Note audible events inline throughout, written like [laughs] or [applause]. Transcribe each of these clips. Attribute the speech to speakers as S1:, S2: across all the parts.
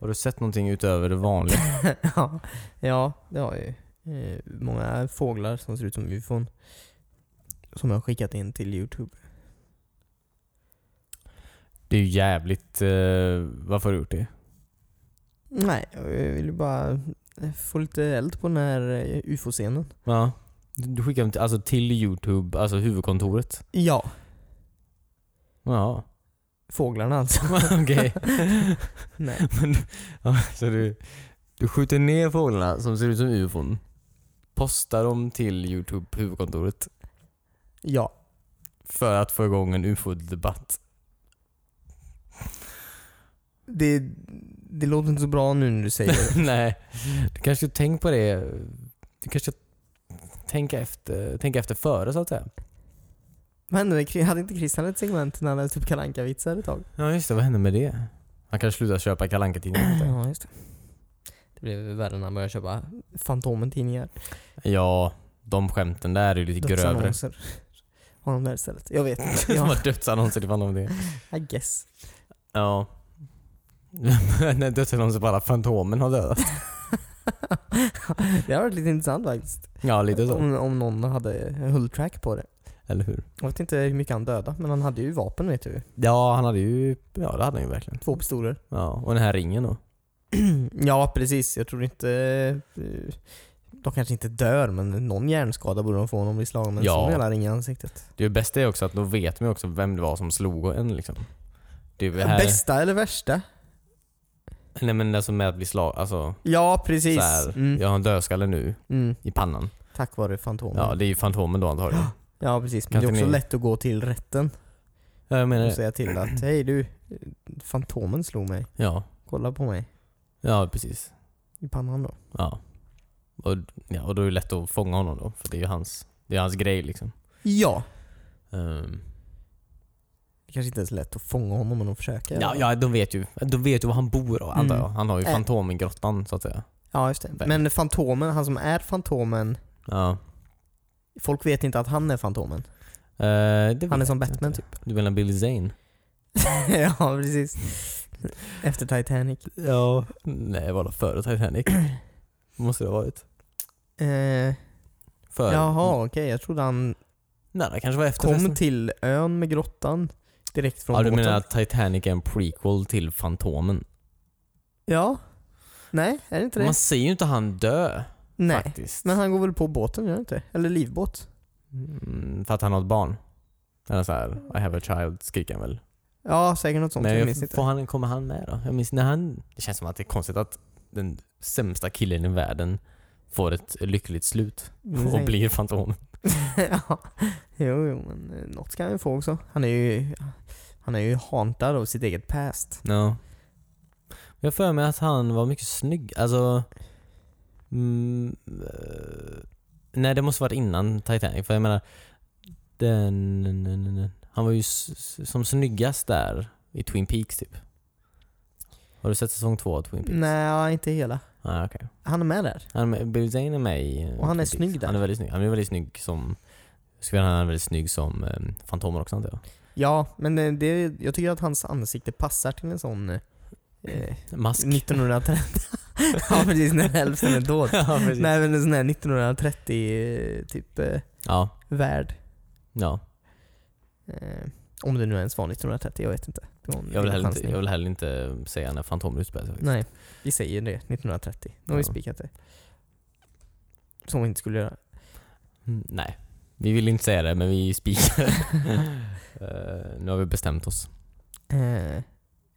S1: Har du sett någonting utöver det vanliga?
S2: [laughs] ja, ja, det har jag ju. Eh, Många fåglar som ser ut som ufon. Som jag har skickat in till Youtube.
S1: Det är ju jävligt... Eh, varför har du gjort det?
S2: Nej, jag vill ju bara få lite eld på den här eh, ufo-scenen.
S1: Ja. Du du skickar dem till, alltså till Youtube, alltså huvudkontoret?
S2: Ja,
S1: Ja.
S2: fåglarna [laughs] alltså.
S1: [laughs] Okej.
S2: Nej.
S1: Men, ja, så du, du skjuter ner fåglarna som ser ut som ufon. Postar dem till Youtube, huvudkontoret.
S2: Ja.
S1: För att få igång en [laughs] ufo-debatt.
S2: Det, det låter inte så bra nu när du säger det.
S1: Nej. Du kanske ska tänka på det. Du kanske ska tänka efter, tänka efter före så att säga.
S2: Vad hände? Kri- Hade inte Christian ett segment när han läste upp Kalle vitsar ett tag?
S1: Ja just det, vad hände med det? Han kanske slutar köpa Kalle Anka-tidningar. [clears throat]
S2: Ja, just det. Det blev värre när han började köpa Fantomen-tidningar.
S1: Ja, de skämten där är ju lite grövre.
S2: Dödsannonser. Har de där istället? Jag vet [laughs] inte.
S1: Som
S2: Ja,
S1: har dödsannonser ifall de det. [laughs]
S2: I guess. [laughs]
S1: Ja. [laughs] När dödsannonser på alla Fantomen har dödat.
S2: Det har varit lite intressant faktiskt.
S1: Ja, lite så.
S2: Om, om någon hade hull track på det.
S1: Eller hur?
S2: Jag vet inte hur mycket han dödade, men han hade ju vapen vet du.
S1: Ja, han hade ju... Ja, det hade han ju verkligen.
S2: Två pistoler.
S1: Ja, och den här ringen då. Mm.
S2: ja, precis. Jag tror inte... eh, De kanske inte dör, men någon hjärnskada borde de få om de blir slagna med en
S1: Ja.
S2: sån jävla ring i ansiktet.
S1: Det bästa är också att då vet man ju också vem det var som slog en liksom. Det är ju det här...
S2: Bästa eller värsta?
S1: Nej men alltså med att bli slag... Alltså,
S2: Ja, precis.
S1: så här,
S2: Mm.
S1: Jag har en dödskalle nu
S2: Mm.
S1: i pannan.
S2: Tack vare Fantomen.
S1: Ja,
S2: Ja,
S1: det är ju Fantomen då antagligen.
S2: precis. Men
S1: Kan
S2: det är
S1: inte
S2: också
S1: ni-
S2: lätt att gå till rätten
S1: [gasps] Ja, jag menar
S2: och
S1: det.
S2: säga till att Hej du, Fantomen slog mig.
S1: Ja.
S2: Kolla på mig
S1: Ja, precis.
S2: i pannan då.
S1: Ja. Och, ja, och då är det lätt att fånga honom då, för det är ju hans, det är hans grej liksom.
S2: Ja.
S1: Ehm,
S2: Det kanske inte är så lätt att fånga honom om de försöker.
S1: ja, ja, de vet ju. De vet ju var han bor då, antar
S2: Mm.
S1: jag. Han har ju
S2: Äh.
S1: Fantomengrottan så att säga.
S2: ja, just det. Men Fantomen, han som är Fantomen, Eh,
S1: Ja.
S2: folk vet inte att han är Fantomen.
S1: Eh, det
S2: Han är
S1: vet
S2: som
S1: jag
S2: Batman
S1: inte. [laughs]
S2: typ.
S1: Du menar Billy Zane?
S2: ja, precis. Efter Titanic.
S1: Ja. Nej, var det före Titanic? Måste det ha varit.
S2: Eh,
S1: Före?
S2: jaha, okej. Jag trodde han
S1: Nej, det kanske var efter
S2: kom
S1: förresten.
S2: till ön med grottan direkt från
S1: Ja, du
S2: båten.
S1: menar att Titanic är en prequel till Fantomen?
S2: Ja. Nej, är det inte det?
S1: Man ser ju inte han dö
S2: Nej.
S1: faktiskt.
S2: Men han går väl på båten, gör han inte? Eller livbåt?
S1: Mm, för att han har ett barn. Eller så här, I have a child skriker han väl.
S2: Ja, säkert något sånt.
S1: Men
S2: jag
S1: jag
S2: minns inte.
S1: får han, kommer han med då? Jag minns när han... Det känns som att det är konstigt att den sämsta killen i världen får ett lyckligt slut
S2: Men
S1: och
S2: säg-
S1: blir Fantomen.
S2: [laughs] ja. Jo, jo, men eh, något ska han ju få också. Han är ju, han är ju hantad av sitt eget past.
S1: Ja. Jag har för mig att han var mycket snygg. Alltså... Mm, eh, nej, det måste varit innan Titanic. För jag menar... Den, han var ju s- s- som snyggast där i Twin Peaks typ. Har du sett säsong två av Twin Peaks?
S2: Nej, inte hela.
S1: Ah, okej.
S2: Han är med där.
S1: Han är, Bill Zane är med i... eh,
S2: Och han är
S1: Twin Peaks.
S2: snygg där.
S1: Han är väldigt snygg. Han är väldigt snygg som... Jag skulle vilja säga han är väldigt snygg som um, Fantomen också antar jag.
S2: Ja, men eh, det, jag tycker att hans ansikte passar till en sån eh, [laughs]
S1: Mask.
S2: 1930...
S1: [laughs]
S2: ja, precis. När hälften är dold.
S1: ja, precis.
S2: [laughs] Nej, men en sån här 1930 eh, typ eh,
S1: Ja,
S2: värld.
S1: ja.
S2: Eh, om det nu ens var 1930, jag vet inte. Det var en
S1: Jag, vill heller inte,
S2: chansning.
S1: jag vill heller inte säga när Fantomen utspelar sig.
S2: Nej, vi säger det. 1930. Nu har vi
S1: Ja.
S2: spikat det. Som vi inte skulle göra.
S1: Mm, Nej. Vi vill inte säga det, men vi [laughs]
S2: [laughs]
S1: spikar. uh, nu har vi bestämt oss.
S2: Eh,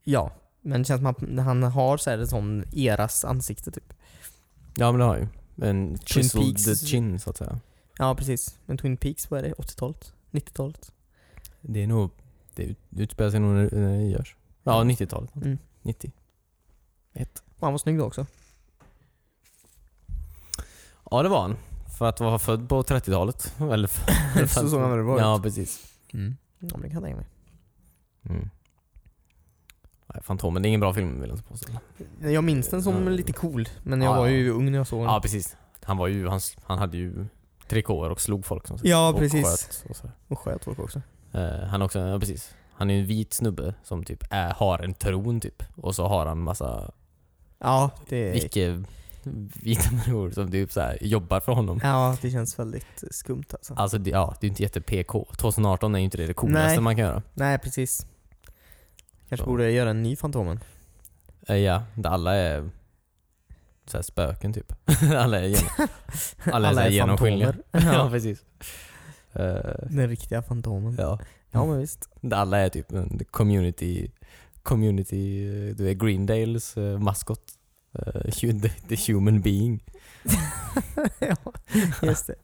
S2: ja, men det känns som att han har så här ett sån eras ansikte typ.
S1: Ja, men det har ju. En chiseled
S2: Peaks.
S1: chin, så att säga.
S2: Ja, precis. Men Twin Peaks, vad är det? 80-talet? 90-talet?
S1: Det är nog... Det ut- utspelar sig nog när när det görs. Ja, 90-talet.
S2: Mm.
S1: 90. Ett.
S2: Och han var snygg då också.
S1: [laughs] Ja, det var han. För att vara född på 30-talet. Eller för,
S2: Så såg han väl bra ut.
S1: Ja, precis.
S2: Ja, men det kan jag tänka mig.
S1: Mm. Nej, Fantomen, det är ingen bra film vill jag inte påstå.
S2: Jag minns den som
S1: Mm.
S2: lite cool, men jag
S1: Ja,
S2: var
S1: ja.
S2: ju ung när jag såg den.
S1: Ja, precis. Han var ju... Han, han hade ju trikåer och slog folk som sagt.
S2: Ja,
S1: och
S2: precis.
S1: sköt och sådär.
S2: Och sköt folk också.
S1: Eh, han är också, ja precis. Han är ju en vit snubbe som typ är, har en tron typ. Och så har han massa
S2: Ja, det...
S1: Vilket vita människor som typ så här, jobbar för honom.
S2: Ja, det känns väldigt skumt alltså.
S1: Alltså det, ja, det är ju inte jätte-PK. 2018 är ju inte det, det coolaste
S2: Nej.
S1: man kan göra.
S2: Nej, precis. Kanske
S1: Så.
S2: borde jag göra en ny Fantomen.
S1: Eh, Ja, där alla är så här spöken typ. [laughs] alla är, gen- [laughs] alla är, alla är genomskinliga. [laughs] ja,
S2: ja,
S1: precis. Eh,
S2: den riktiga Fantomen. Ja.
S1: ja.
S2: men visst. [laughs]
S1: Där alla är typ en community, community, eh, du är Greendales eh, maskot. Eh, [laughs] hu- the- the human being. [laughs]
S2: ja, just det.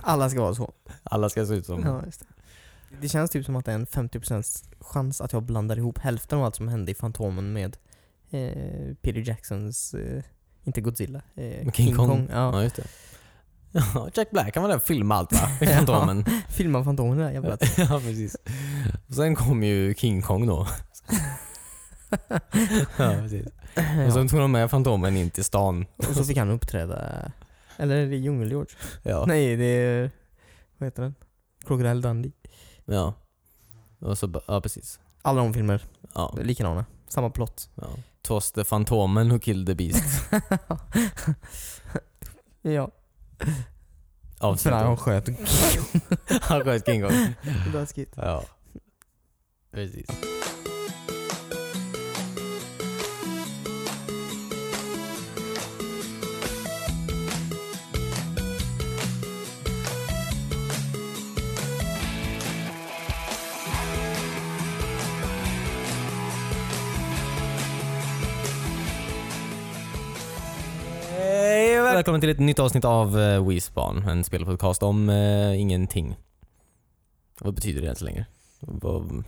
S2: Alla ska vara så.
S1: Alla ska se ut som...
S2: Ja, just det. det känns typ som att det är en 50% chans att jag blandar ihop hälften av allt som hände i Fantomen med eh, Peter Jacksons, eh, inte Godzilla, eh,
S1: King, Kong.
S2: Ja.
S1: Ja, just det. [laughs] Ja, Jack Black, han var där och filmade allt va? I [laughs] Fantomen.
S2: Filma Fantomen där jävla
S1: [laughs] ja, precis. Och sen kom ju King Kong då. [laughs] ja, precis. Och sen tog de med Fantomen in till stan.
S2: Och så fick han uppträda, eller är det Djungel-George?
S1: Ja.
S2: Nej, det är, vad heter den? Crocodile Dundee.
S1: ja. Och så, ba- ja precis.
S2: Alla de filmer,
S1: Ja.
S2: likadana. Samma plott. [laughs]
S1: ja. Toss the Fantomen who killed the beast.
S2: ja, för
S1: Avsnitt. [laughs]
S2: han sköt
S1: Han sköt King Kong.
S2: Läskigt.
S1: Ja. Precis. Välkommen till ett nytt avsnitt av eh, Wispan, en spelpodcast om eh, ingenting. Vad betyder det ens längre? Vad...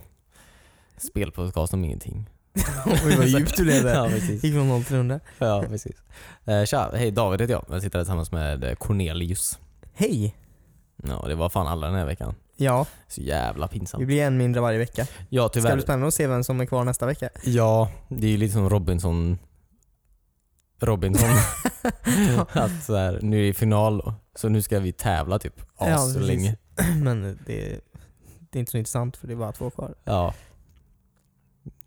S1: Spelpodcast om ingenting.
S2: [laughs] Oj vad djupt du blev
S1: [laughs]
S2: där.
S1: ja, precis.
S2: Gick från 0 till 100.
S1: Ja, precis. Eh, tja, hej David heter jag. Jag sitter här tillsammans med eh, Cornelius.
S2: Hej!
S1: Ja, det var fan alla den här veckan.
S2: Ja,
S1: Så jävla
S2: vi
S1: pinsamt.
S2: blir en mindre varje vecka.
S1: Ja,
S2: Det ska bli
S1: tyvärr.
S2: spännande att se vem som är kvar nästa vecka. [clears throat]
S1: Ja, det är ju lite som Robinson...
S2: [laughs]
S1: Robinson. [laughs] att så här, nu är det final då. Så nu ska vi tävla typ
S2: Ja,
S1: as
S2: precis.
S1: länge.
S2: Men det, det är inte så intressant för det är bara två kvar.
S1: Ja.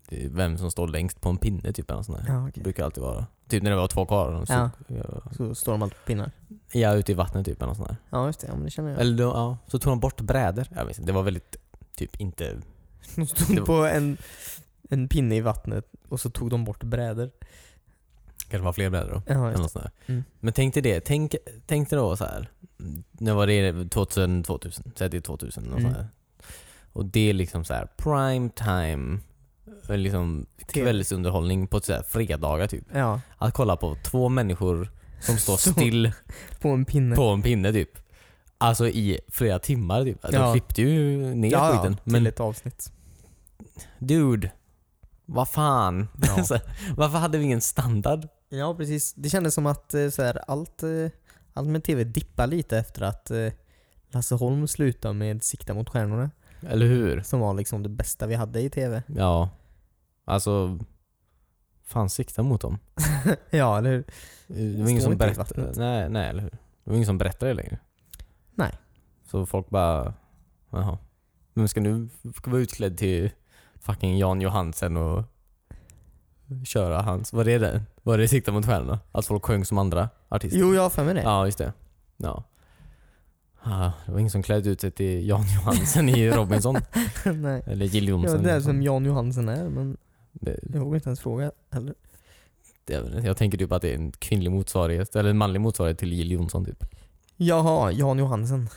S1: Det är vem som står längst på en pinne typ eller nåt sånt där.
S2: Ja,
S1: Det
S2: okej.
S1: brukar alltid vara. Typ när det var två kvar. De stod,
S2: Ja.
S1: ja.
S2: Så står de alltid på pinnar.
S1: ja, ute i vattnet typ eller nåt sånt där.
S2: Ja just det, ja, men det känner jag.
S1: Eller då, ja, så tog de bort brädor. Jag minns inte, det var väldigt typ inte...
S2: De
S1: det
S2: stod på en, en pinne i vattnet och så tog de bort brädor.
S1: kanske var fler brädor då.
S2: Ja,
S1: Eller
S2: just det.
S1: något sånt där.
S2: Mm.
S1: Men tänk dig det. Tänk, tänk dig då så här. Nu var det 2000, 2000, säg att det är 2000 eller något
S2: Mm.
S1: sånt där. Och det är liksom så här prime time, eh, liksom
S2: Te-
S1: kvällsunderhållning på så här fredagar typ.
S2: Ja,
S1: Att kolla på två människor som
S2: [laughs]
S1: står
S2: Så-
S1: still
S2: på en pinne.
S1: på en pinne typ. Alltså i flera timmar typ. De
S2: Ja.
S1: klippte ju ner
S2: ja,
S1: skiten.
S2: ja, till
S1: Men
S2: ett avsnitt.
S1: dude, vad fan. [laughs]
S2: [laughs] Ja.
S1: Så, varför hade vi ingen standard?
S2: Ja precis, det kändes som att eh, så här, allt, eh, allt med TV dippar lite efter att eh, Lasse Holm slutade med Sikta mot stjärnorna.
S1: Eller hur?
S2: Som var liksom det bästa vi hade i TV.
S1: Ja. Alltså, fan sikta mot dem.
S2: [laughs] ja eller hur?
S1: Det var
S2: Står
S1: ingen som
S2: inte i
S1: berättade.
S2: vattnet.
S1: Nej, nej, eller hur? Det var ingen som berättade det längre.
S2: Nej.
S1: Så folk bara, jaha. Vem ska nu vara utklädd till fucking Jan Johansen och köra hans, var det det? Var det Sikta mot stjärnorna? Att folk sjöng som andra artister?
S2: Jo, jag har för mig det.
S1: Ja, just det. Ja. Ah, det var ingen som klädde ut sig till Jan Johansen i
S2: [laughs]
S1: Robinson.
S2: [laughs] Nej.
S1: Eller Jill
S2: Ja,
S1: Johnson. liksom.
S2: det är som Jan Johansen är, men
S1: Det-
S2: jag vågar inte ens fråga heller.
S1: det är väl- jag tänker typ att det är en kvinnlig motsvarighet, eller en manlig motsvarighet till Jill Johnson typ.
S2: Jaha, Jan Johansen.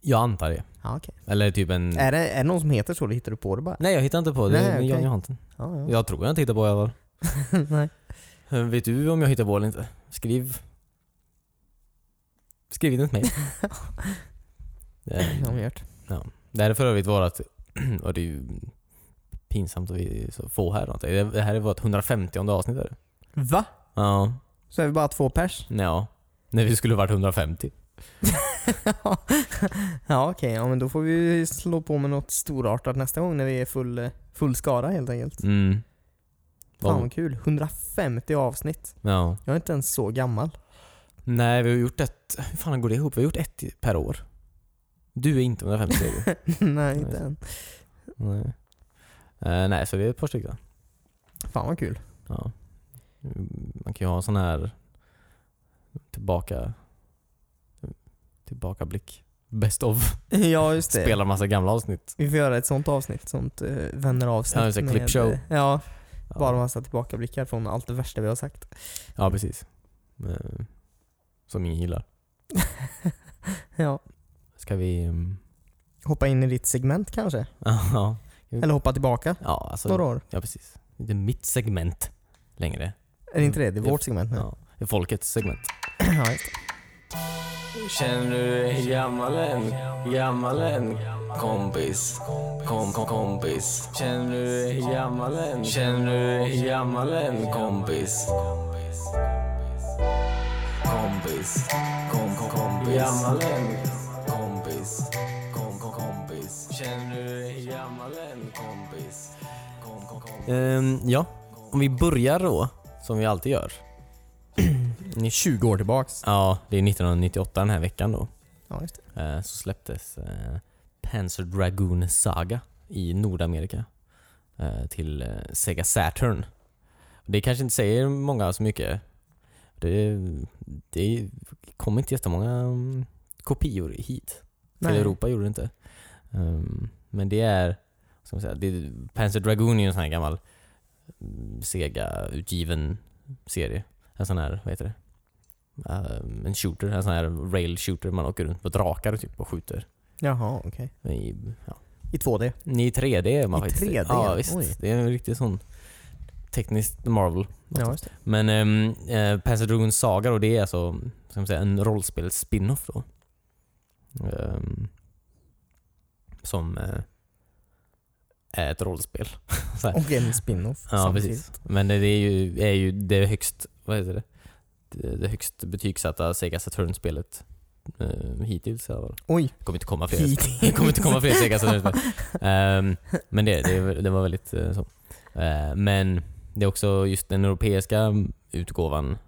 S1: Jag antar det.
S2: Ja, okej. Äh,
S1: Eller typ en...
S2: Är, det, är det någon som heter så eller hittar du på det bara?
S1: Nej jag hittar inte på det.
S2: Nej,
S1: det är
S2: okej.
S1: Jan Johansson.
S2: Ja, ja.
S1: Jag tror jag inte hittar på det i alla fall.
S2: [laughs] Nej.
S1: Eh, Vet du om jag hittar på eller inte? Skriv... Skriv in ett
S2: [laughs]
S1: mejl.
S2: Jag har
S1: Eh,
S2: gjort.
S1: det här är för övrigt vårat... [clears throat] Och det är ju pinsamt att vi är så få här. någonting. Det här är vårt 150 avsnitt. Är det?
S2: Va?
S1: Ja.
S2: Så är vi bara två pers? [laughs]
S1: Ja. När vi skulle varit 150.
S2: ja okej, ja, men då får vi ju slå på med något storartat nästa gång när vi är full, eh, full skara helt enkelt.
S1: Mm.
S2: Fan
S1: Vad-
S2: vad kul. 150 avsnitt.
S1: Ja.
S2: Jag är inte ens så gammal.
S1: Nej, vi har gjort ett... Hur fan går det ihop? Vi har gjort ett i- per år. Du är inte 150 är du?
S2: [laughs] Nej, inte
S1: Nej.
S2: än.
S1: Nej. Eh, nej, så det är ett par stycken.
S2: Fan vad kul.
S1: Ja. Man kan ju ha en sån här tillbaka tillbakablick. Best of.
S2: ja, just [laughs] det.
S1: Spela massa gamla avsnitt.
S2: Vi får göra ett sånt avsnitt, sånt eh,
S1: Ja,
S2: vänner-avsnitt.
S1: just det,
S2: med- eh,
S1: clipshow.
S2: Ja,
S1: Ja.
S2: bara massa tillbakablickar från allt det värsta vi har sagt.
S1: Ja, precis. Eh, Som ingen gillar.
S2: Ja.
S1: Ska vi... mm, [laughs]
S2: Hoppa in i ditt segment kanske?
S1: Ja,
S2: Eller hoppa tillbaka
S1: ja alltså.
S2: några år?
S1: Ja, precis. Det är mitt segment längre.
S2: Är det inte det? Det är
S1: Ja.
S2: vårt segment nu.
S1: Ja. Det är folkets segment.
S2: [clears throat] Ja, just det.
S3: Känner du dig gammal än? Gammal än? Kompis, kom, kom, kompis. Känner du dig gammal än? Känner du dig gammal än? Kompis. Kompis, kom, kom, kompis. Gammal än? Kompis, kom, kom, kompis. Känner du dig gammal än? Kompis, kom, kom, kompis.
S1: Ehm, ja, om vi börjar då, som vi alltid gör. Ni-
S2: 20 år tillbaks.
S1: ja, det är 1998 den här veckan då.
S2: Ja, just det.
S1: Eh, så släpptes eh, Panzer Dragoon Saga i Nordamerika eh, till eh, Sega Saturn. Det kanske inte säger många så mycket. Det, det kom inte jättemånga mm, kopior hit. Till Europa gjorde det inte. Ehm, men det är, vad ska man säga, det är, Panzer Dragoon är ju en sån här gammal mm, Sega-utgiven serie. En sån här, vad heter det? Ehm, en shooter, en sån här rail shooter man åker runt på drakar typ och skjuter.
S2: Jaha, okej.
S1: Men I, ja.
S2: I 2D.
S1: I 3D är man
S2: I
S1: faktiskt.
S2: 3D?
S1: Ja visst.
S2: Oj.
S1: Det är en riktig sån teknisk Marvel.
S2: Ja, just det.
S1: Men um, uh, Panzer Dragoon Saga då, det är alltså vad ska man säga, en rollspels-spin-off då. Ehm, som eh, är ett rollspel. Så här.
S2: Och en spin-off.
S1: ja,
S2: samtidigt.
S1: precis. Men det är ju, är ju det högst, vad heter det? Det, det högst betygsatta Sega Saturn-spelet eh, hittills. i alla fall.
S2: Oj.
S1: Det kommer inte komma fler.
S2: [laughs] Hit.
S1: Det kommer inte komma fler Sega Saturn-spel. Ehm, men det, det, det var väldigt eh, så. Eh, men det är också just den europeiska utgåvan.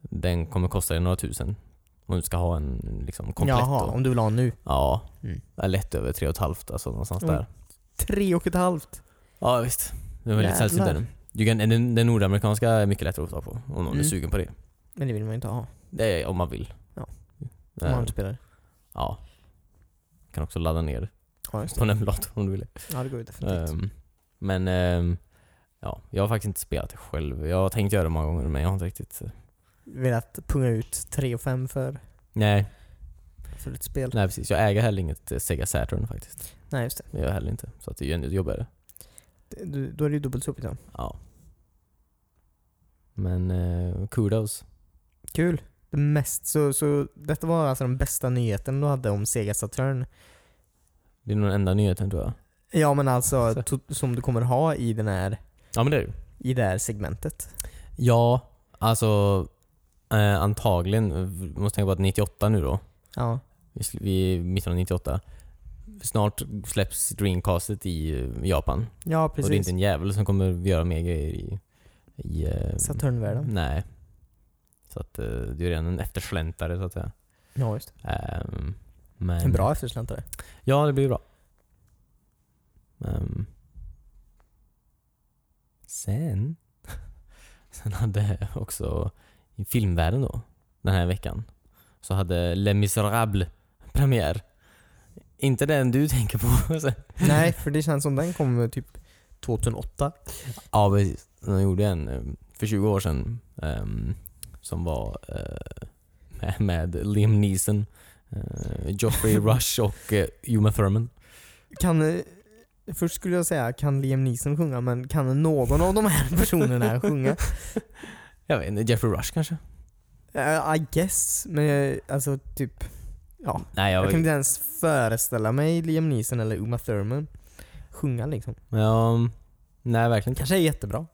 S1: Den kommer kosta dig några tusen. Om du ska ha en liksom, komplett.
S2: Jaha,
S1: då.
S2: om du vill ha en nu.
S1: Ja,
S2: Mm.
S1: lätt över tre och ett halvt alltså någonstans
S2: Oj.
S1: där.
S2: Tre och ett halvt.
S1: Ja visst. Det var lite
S2: Jävlar.
S1: sällsynt den. Du kan, den, den nordamerikanska är mycket lättare att få tag på om någon
S2: Mm.
S1: är sugen på det.
S2: Men det vill man ju inte ha.
S1: Det är om man vill.
S2: Ja. Om
S1: Eh,
S2: man inte spelar.
S1: ja. Kan också ladda ner
S2: Ja, just
S1: på
S2: det.
S1: en emulator om du vill.
S2: Ja, det går ju definitivt.
S1: Ehm, men ehm, ja, jag har faktiskt inte spelat det själv. Jag har tänkt göra det många gånger men jag har inte riktigt... eh,
S2: Velat punga ut tre och fem för,
S1: Nej,
S2: för ett spel.
S1: nej precis. Jag äger heller inget eh, Sega Saturn faktiskt.
S2: Nej, just det.
S1: Det gör jag heller inte. Så att det är ju ännu jobbigare.
S2: Det- Du, då är det ju dubbelt så jobbigt ja.
S1: Ja. Men eh, kudos.
S2: Kul. Det mest, så, så detta var alltså den bästa nyheten du hade om Sega Saturn.
S1: Det är nog den enda nyheten tror jag.
S2: Ja men
S1: [laughs]
S2: alltså
S1: Så.
S2: to, som du kommer ha i, den här,
S1: Ja men det är det ju.
S2: i det här segmentet.
S1: Ja, alltså eh, antagligen. Vi måste tänka på att 98 nu då.
S2: Ja.
S1: Vi sl- Vi är mitten av 98. Snart släpps Dreamcastet i eh, Japan.
S2: Ja
S1: Och det är inte
S2: precis.
S1: en jävel som kommer göra mer grejer i... i eh,
S2: Saturnvärlden.
S1: Nej. Så att eh, det är redan en eftersläntare så att säga.
S2: Ja just det.
S1: Ehm, men,
S2: En bra eftersläntrare.
S1: Ja, det blir bra. Ehm. sen... [laughs] sen hade också i filmvärlden då, den här veckan, så hade Les Misérables premiär. Inte den du tänker på. [laughs] så-
S2: Nej för det känns som den kom typ 2008.
S1: ja, precis. De gjorde en eh, för 20 år sedan ehm, som var eh, med, med Liam Neeson, eh, [laughs] Geoffrey Rush och eh, Uma Thurman.
S2: Kan... eh, Först skulle jag säga, kan Liam Neeson sjunga? Men kan någon av de här [laughs] personerna sjunga?
S1: Jag vet inte, Jeffrey Rush kanske?
S2: Eh, I guess, men jag- alltså typ... Ja,
S1: Nej, jag,
S2: Jag
S1: vet
S2: kan inte ens föreställa mig Liam Neeson eller Uma Thurman sjunga liksom.
S1: Ja, nej verkligen inte.
S2: Kanske är jättebra.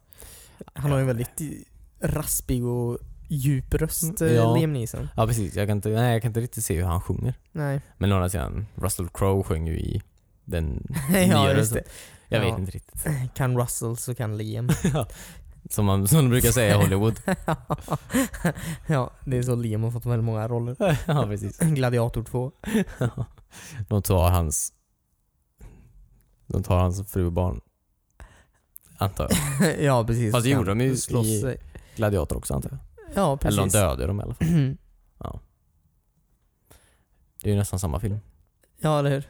S2: Han har ju en väldigt i- raspig och djup röst, eh,
S1: Mm, Ja.
S2: Liam Neeson.
S1: Ja precis, jag kan inte, nej, jag kan inte riktigt se hur han sjunger.
S2: Nej.
S1: Men å andra sidan, Russell Crowe sjöng ju i den
S2: [laughs] ja,
S1: nyare,
S2: just
S1: så
S2: det.
S1: att Jag
S2: Ja.
S1: vet inte riktigt. [laughs]
S2: Kan Russell så kan Liam.
S1: Som, man, som de brukar säga i Hollywood.
S2: [laughs] ja, det är så Liam har fått väldigt många roller.
S1: [laughs] ja precis.
S2: [laughs] Gladiator 2.
S1: [laughs] de tar hans... De tar hans fru och barn. Antar jag.
S2: [laughs] ja, precis.
S1: Fast det
S2: Kan
S1: gjorde de ju
S2: slåss
S1: i-
S2: sig.
S1: gladiator också antar jag.
S2: Ja, precis.
S1: Eller de dödar dem i alla fall. Det är ju nästan samma film.
S2: ja, eller hur?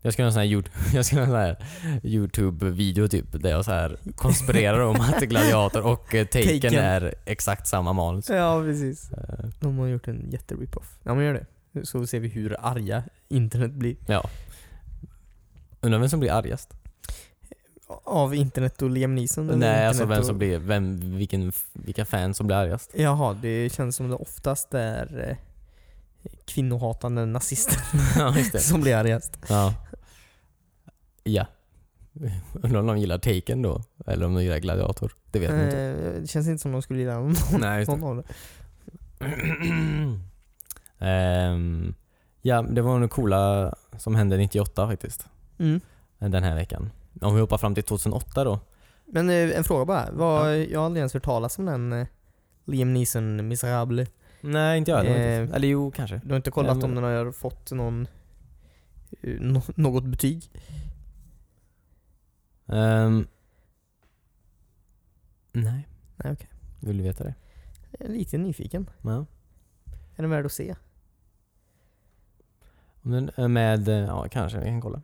S1: Jag ska göra en sån här, Yout- [laughs] jag ska göra en sån här Youtube-video typ där jag så här konspirerar om att Gladiator och eh, Taken,
S2: Taken.
S1: är exakt samma manus.
S2: Ja, precis.
S1: Eh,
S2: De har gjort en jätte-rip-off. Ja, men gör det. Så ser vi hur arga internet blir.
S1: Ja. Undrar vem som blir argast?
S2: Av internet och Liam Neeson? eller
S1: Nej,
S2: internet
S1: alltså vem
S2: och-
S1: som blir, vem, vilken, vilka fans som blir argast. [laughs]
S2: Jaha, det känns som det oftast är eh, kvinnohatande nazister
S1: ja, just det.
S2: som blir argast.
S1: Ja. [laughs] ja. [laughs] Undrar om de gillar Taken då? Eller om de gillar Gladiator? Det vet man inte.
S2: Eh, Det känns inte som de skulle gilla någon,
S1: Nej, just det.
S2: [laughs] någon av det.
S1: [clears throat] Ehm, ja, det var nog coola som hände 98 faktiskt.
S2: Mm.
S1: Den här veckan. Om vi hoppar fram till 2008 då.
S2: Men eh, en fråga bara. Vad, Jag har aldrig ens hört talas om den eh, Liam Neeson Miserable.
S1: Nej, inte jag.
S2: Eh,
S1: faktiskt. Eller jo, kanske.
S2: Du har inte kollat
S1: Ja, men-
S2: om den har fått någon, eh, nå- något betyg?
S1: Ehm, nej.
S2: Nej, okej.
S1: Vill du veta det?
S2: Jag är lite nyfiken.
S1: Ja.
S2: Är den värd att se?
S1: Om den är Med, eh, ja kanske, vi kan kolla.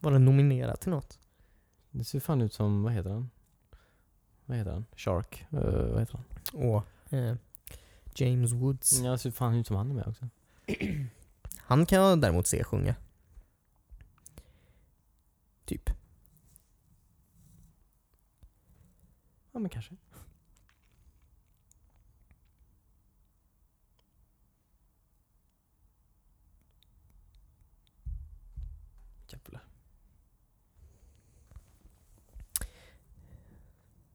S2: Var den nominerad till något?
S1: Det ser fan ut som, vad heter han? Vad heter han? Shark? Eh, vad heter han?
S2: Åh. Eh, James Woods.
S1: Ja, det ser fan ut som han är med också.
S2: Han kan jag däremot se sjunga. Typ.
S1: Ja, men kanske. Jävlar.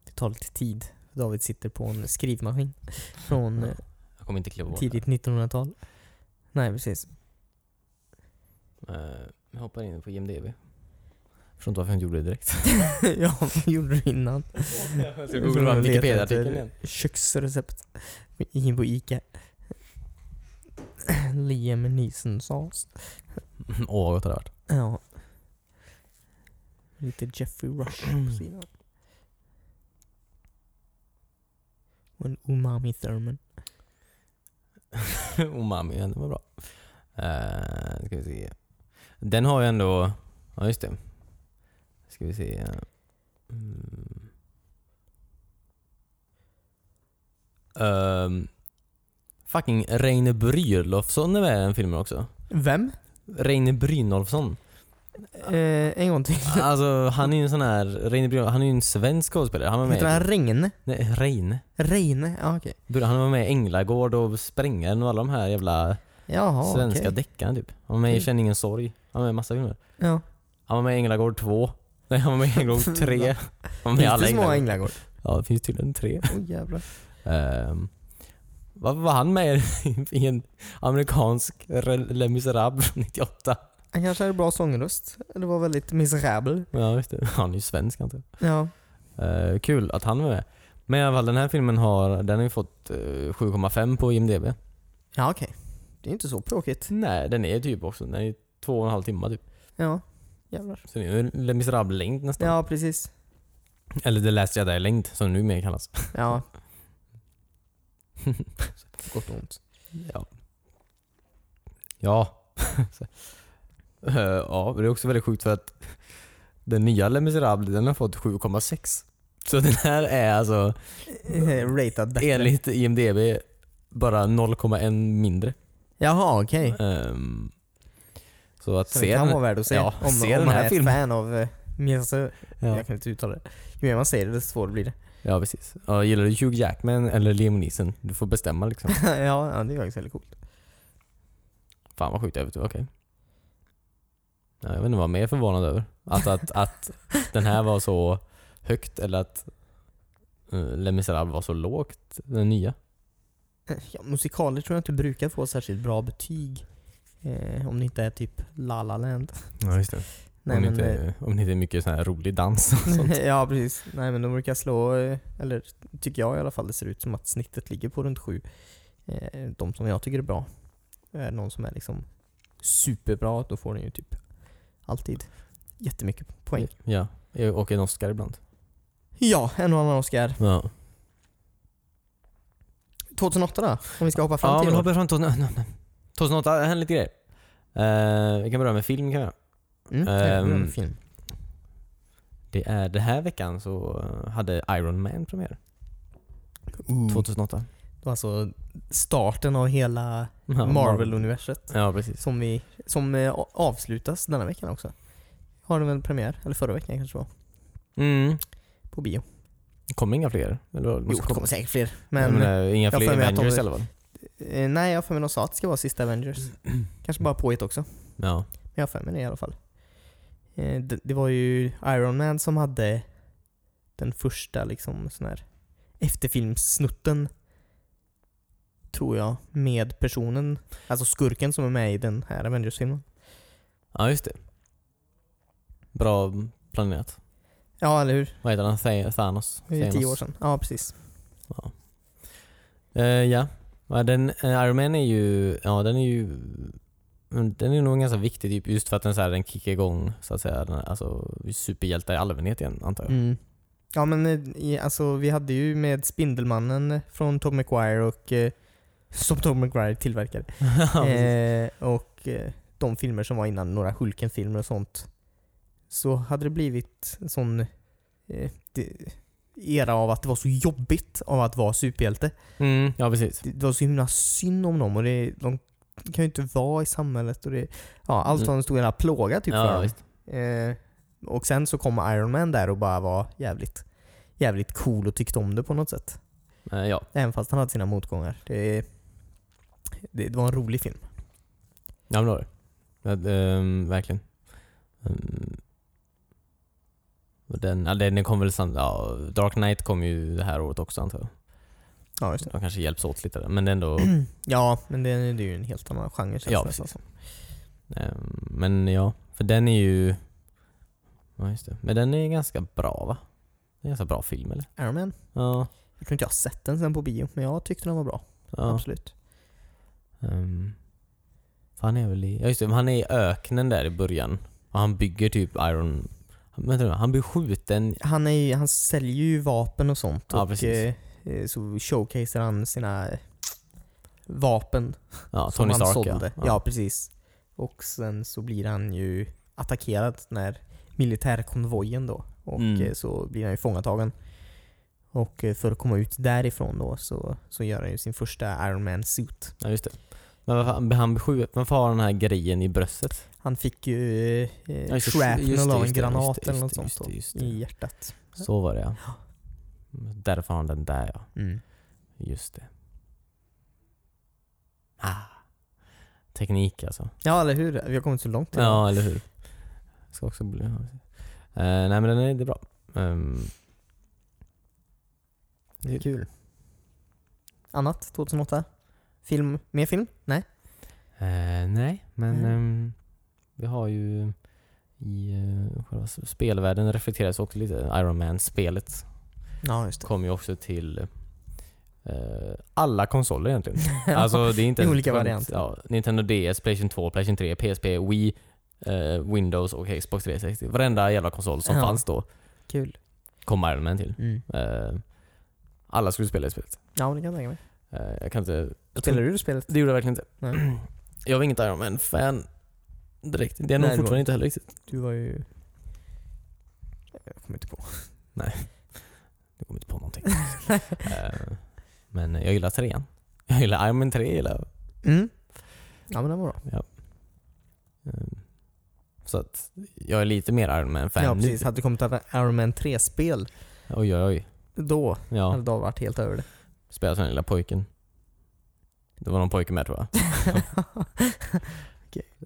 S2: Det tar lite tid. David sitter på en skrivmaskin från eh,
S1: Jag kommer inte kliva bort
S2: tidigt 1900-tal. Nej, precis. [laughs]
S1: det. Eh, Jag hoppar in på IMDB. Jag förstår inte varför jag inte gjorde det
S2: [laughs]
S1: direkt.
S2: ja, vad gjorde du innan?
S1: Jag ska googla
S2: Letar
S1: Wikipedia-artikeln
S2: efter
S1: igen.
S2: Köksrecept i- på Ica. [laughs] Liam Neeson-sås.
S1: Mm, Åh, vad gott det hade varit.
S2: Ja. Lite Jeffrey Rush
S1: [clears throat]
S2: på sidan. Och en umami Thurman.
S1: [laughs] Umami, ja, den var bra. Eh, nu ska vi se. Den har ju ändå... Ja, just det. Ska vi se. Mm. Ehm, fucking Reine Brynolfsson är med i den filmen också.
S2: Vem?
S1: Reine
S2: [laughs]
S1: Brynolfsson.
S2: Eh, en gång till.
S1: Alltså han är ju en sån här... Reine Brynolf, han är ju en svensk skådespelare. Han var med
S2: Heter han
S1: i...
S2: Regne?
S1: Nej, Reine.
S2: Reine? Ja, okej.
S1: Han var med i Änglagård och Sprängaren och alla de här jävla
S2: Jaha,
S1: svenska
S2: Ah, okej.
S1: deckarna typ. Han var med i
S2: Kul.
S1: Känn ingen sorg. Han var med i massa filmer.
S2: Ja.
S1: Han var med i Änglagård 2. [laughs] Nej, han var med i Änglagård 3. Han var med i alla
S2: Lite små
S1: Änglagård. [laughs]
S2: änglagård.
S1: Ja, det finns tydligen tre.
S2: Åh jävlar.
S1: Um, vad var han med i- [laughs] i en amerikansk Re- Les Misérables från 98?
S2: Han kanske hade bra sångröst. Eller var väldigt miserabel.
S1: Ja, just det. Han är ju svensk antar
S2: Ja.
S1: jag. Eh, Kul att han var med. Men i alla fall den här filmen har, den har ju fått eh, 7,5 på IMDB.
S2: Ja, okej. Det är inte så pråkigt.
S1: Nej, den är typ också, den är ju två och en halv timme typ.
S2: Ja. Jävlar.
S1: Så det är ju Les Misérables-längd nästan.
S2: Ja, precis.
S1: Eller The Last Jedi-längd som numera kallas. [laughs]
S2: Ja. På Gott och ont.
S1: Ja. Ja. Så. [laughs] Eh, ja, men det är också väldigt sjukt för att den nya Les Misérables den har fått 7,6. Så den här är alltså
S2: Eh, Rated bättre.
S1: enligt IMDB bara 0,1 mindre.
S2: Jaha, okej.
S1: Ehm, så att
S2: Så
S1: se
S2: det kan
S1: den,
S2: vara värd att se.
S1: ja,
S2: om,
S1: se
S2: om
S1: den
S2: man
S1: här
S2: är
S1: filmen.
S2: ett fan av eh, Mesa.
S1: ja,
S2: Jag kan inte uttala det. Ju mer man säger det, desto svårare blir det. [laughs]
S1: ja, precis. Ja, gillar du Hugh Jackman eller Liam Neeson? Du får bestämma liksom.
S2: ja, ja, det är faktiskt väldigt coolt.
S1: Fan vad sjukt, jag vet inte, okej. Ja, jag vet inte vad jag är mer förvånad över. Att, att, att den här var så högt eller att uh, Les Misérables var så lågt, den nya.
S2: Eh, Ja, musikaler tror jag inte brukar få särskilt bra betyg. Eh, om det inte är typ La La Land.
S1: Ja, just det.
S2: Nej,
S1: om, det
S2: men,
S1: inte, eh, om det inte är mycket sån här rolig [laughs] dans och sånt.
S2: eh, [laughs] ja, precis. Nej, men de brukar slå, eh, eller tycker jag i alla fall, det ser ut som att snittet ligger på runt sju. Eh, de som jag tycker är bra. Är någon som är liksom superbra, då får den ju typ alltid jättemycket poäng.
S1: Ja, och en Oscar ibland.
S2: Ja, en och annan Oscar.
S1: Ja.
S2: 2008 då? Om vi ska hoppa fram
S1: Ja,
S2: till
S1: men
S2: i år.
S1: hoppar fram till 2008. 2008, det hände lite grejer. Eh, vi kan börja med film kan vi göra.
S2: Mm, det är
S1: Ehm,
S2: en film.
S1: Det är den här veckan så eh, hade Iron Man premiär. Ehm, Mm. 2008.
S2: Det var alltså starten av hela
S1: Ja,
S2: Marvel-universet.
S1: Ja, precis.
S2: Som, vi, som eh, a- avslutas denna veckan också. Har de en premiär? Eller förra veckan kanske det var.
S1: Mm.
S2: På bio.
S1: Kommer inga fler? Eller, måste
S2: Jo, det
S1: komma-
S2: kommer säkert fler.
S1: Jag
S2: Men,
S1: menar, inga
S2: jag får
S1: fler
S2: med att de-
S1: Avengers i alla fall.
S2: eh, nej, jag har för mig de sa att det ska vara sista Avengers. [clears throat] Kanske bara påhitt också.
S1: Ja.
S2: Men jag har för mig det i alla fall. Eh, det, det var ju Iron Man som hade den första liksom sån här efterfilmssnutten. Tror jag. Med personen, alltså skurken som är med i den här Avengers-filmen.
S1: ja, just det. Bra planerat.
S2: Ja, eller hur?
S1: Vad heter han? Tha- Thanos?
S2: Det är ju
S1: Thanos.
S2: tio år sedan. Ja, precis.
S1: Ja. Eh, ja. Ja, Den, eh, Iron Man är ju, ja den är ju mm, den är nog ganska viktig typ, just för att den, så här, den kickar igång så att säga, den, alltså, superhjältar i allmänhet igen antar jag.
S2: Mm. Ja men eh, i- alltså vi hade ju med Spindelmannen från Tom McGuire och eh, som Tom McGuire tillverkade.
S1: [laughs] Ja, precis.
S2: eh, och eh, de filmer som var innan, några Hulken-filmer och sånt. Så hade det blivit en sån eh, de- era av att det var så jobbigt av att vara superhjälte.
S1: Mm, [laughs] ja precis.
S2: Det, det var så himla synd om dem och det, de kan ju inte vara i samhället. Och det, ja, allt var en stor jävla plåga typ för
S1: Mm. ja,
S2: dem.
S1: visst.
S2: Eh, och sen så kom Iron Man där och bara var jävligt, jävligt cool och tyckte om det på något sätt.
S1: Eh, ja.
S2: Även fast han hade sina motgångar. Det, det, det var en rolig film.
S1: ja, men det var det. Ja, ehm, verkligen. Ehm, och den, ja, den den kom väl sam- ja, Dark Knight kom ju det här året också antar jag.
S2: Ja, just det.
S1: De kanske hjälps åt lite där, men
S2: [clears throat]
S1: ändå.
S2: Ja, men det, det är ju en helt annan genre känns
S1: Ja,
S2: det nästan som.
S1: Ehm, Men ja, för den är ju... Ja, just det. Men den är ganska bra va? Det är en ganska bra film eller?
S2: Iron Man.
S1: Ja.
S2: Jag tror inte jag har sett den sen på bio, men jag tyckte den var bra.
S1: ja.
S2: Absolut.
S1: Um, han är väl i... Ja just det, men han är i öknen där i början. Och han bygger typ Iron... Vänta nu, han blir skjuten...
S2: Han, är, ju- han säljer ju vapen och sånt.
S1: Ja,
S2: och
S1: precis.
S2: eh, så showcasear han sina eh, vapen
S1: Ja,
S2: som
S1: Tony
S2: han
S1: Stark
S2: sålde. Ja.
S1: ja. ja.
S2: precis. Och sen så blir han ju attackerad när militärkonvojen då. Och
S1: Mm.
S2: eh, så blir han ju fångatagen. Och eh, för att komma ut därifrån då så, så gör han ju sin första Iron Man suit.
S1: ja, just det. Men varför, han- han blir skjuten... Varför har han den här grejen i bröstet?
S2: Han fick ju eh,
S1: Ja, just det, just
S2: shrapnel
S1: det, just
S2: av en
S1: det, just
S2: granat
S1: det,
S2: eller något
S1: just det,
S2: sånt
S1: just det,
S2: då,
S1: just det.
S2: i hjärtat.
S1: Så var det ja. Därför har han den där ja.
S2: Mm.
S1: Just det. Ah. Teknik alltså.
S2: Ja eller hur? Vi har kommit så långt. redan.
S1: Ja, eller hur. Ska också bli... ja, precis. Eh, nej men den är, det är bra. Ehm,
S2: Det är kul. Annat 2008? Film? Mer film? Nej?
S1: eh, nej, men
S2: Nej.
S1: ehm, vi har ju i eh, själva s- spelvärlden reflekteras också lite. Iron Man-spelet
S2: Ja [laughs] just det.
S1: kom ju också till eh, alla konsoler
S2: [laughs]
S1: egentligen. alltså det är inte...
S2: I
S1: ens
S2: olika
S1: skämt.
S2: varianter.
S1: Ja, Nintendo DS, Playstation 2, Playstation 3, PSP, Wii, eh, Windows och Xbox 360. Varenda jävla konsol som
S2: Ja.
S1: fanns då
S2: Kul.
S1: kom Iron Man till.
S2: Mm.
S1: Eh, alla skulle spela det spelet.
S2: Ja det kan jag tänka mig.
S1: Eh, Jag kan inte... Jag
S2: Spelar
S1: tror,
S2: du det spelet?
S1: det gjorde jag verkligen inte.
S2: Nej.
S1: [clears throat] Jag var inget Iron Man-fan direkt. Det är jag nog
S2: Nej, det var-
S1: fortfarande inte heller riktigt.
S2: Du var ju... Jag kommer inte på.
S1: Jag kommer inte på
S2: [laughs]
S1: någonting. Eh, men jag gillar trean. Jag gillar Iron Man 3. Gillar jag.
S2: Mm. Ja men den var bra.
S1: Eh, så att jag är lite mer Iron Man-fan
S2: ja precis,
S1: nu.
S2: hade det kommit ett Iron Man 3-spel
S1: Oj, oj, oj.
S2: då hade
S1: Ja,
S2: David varit helt över det.
S1: spelar som den lilla pojken. Det var någon pojke med tror jag.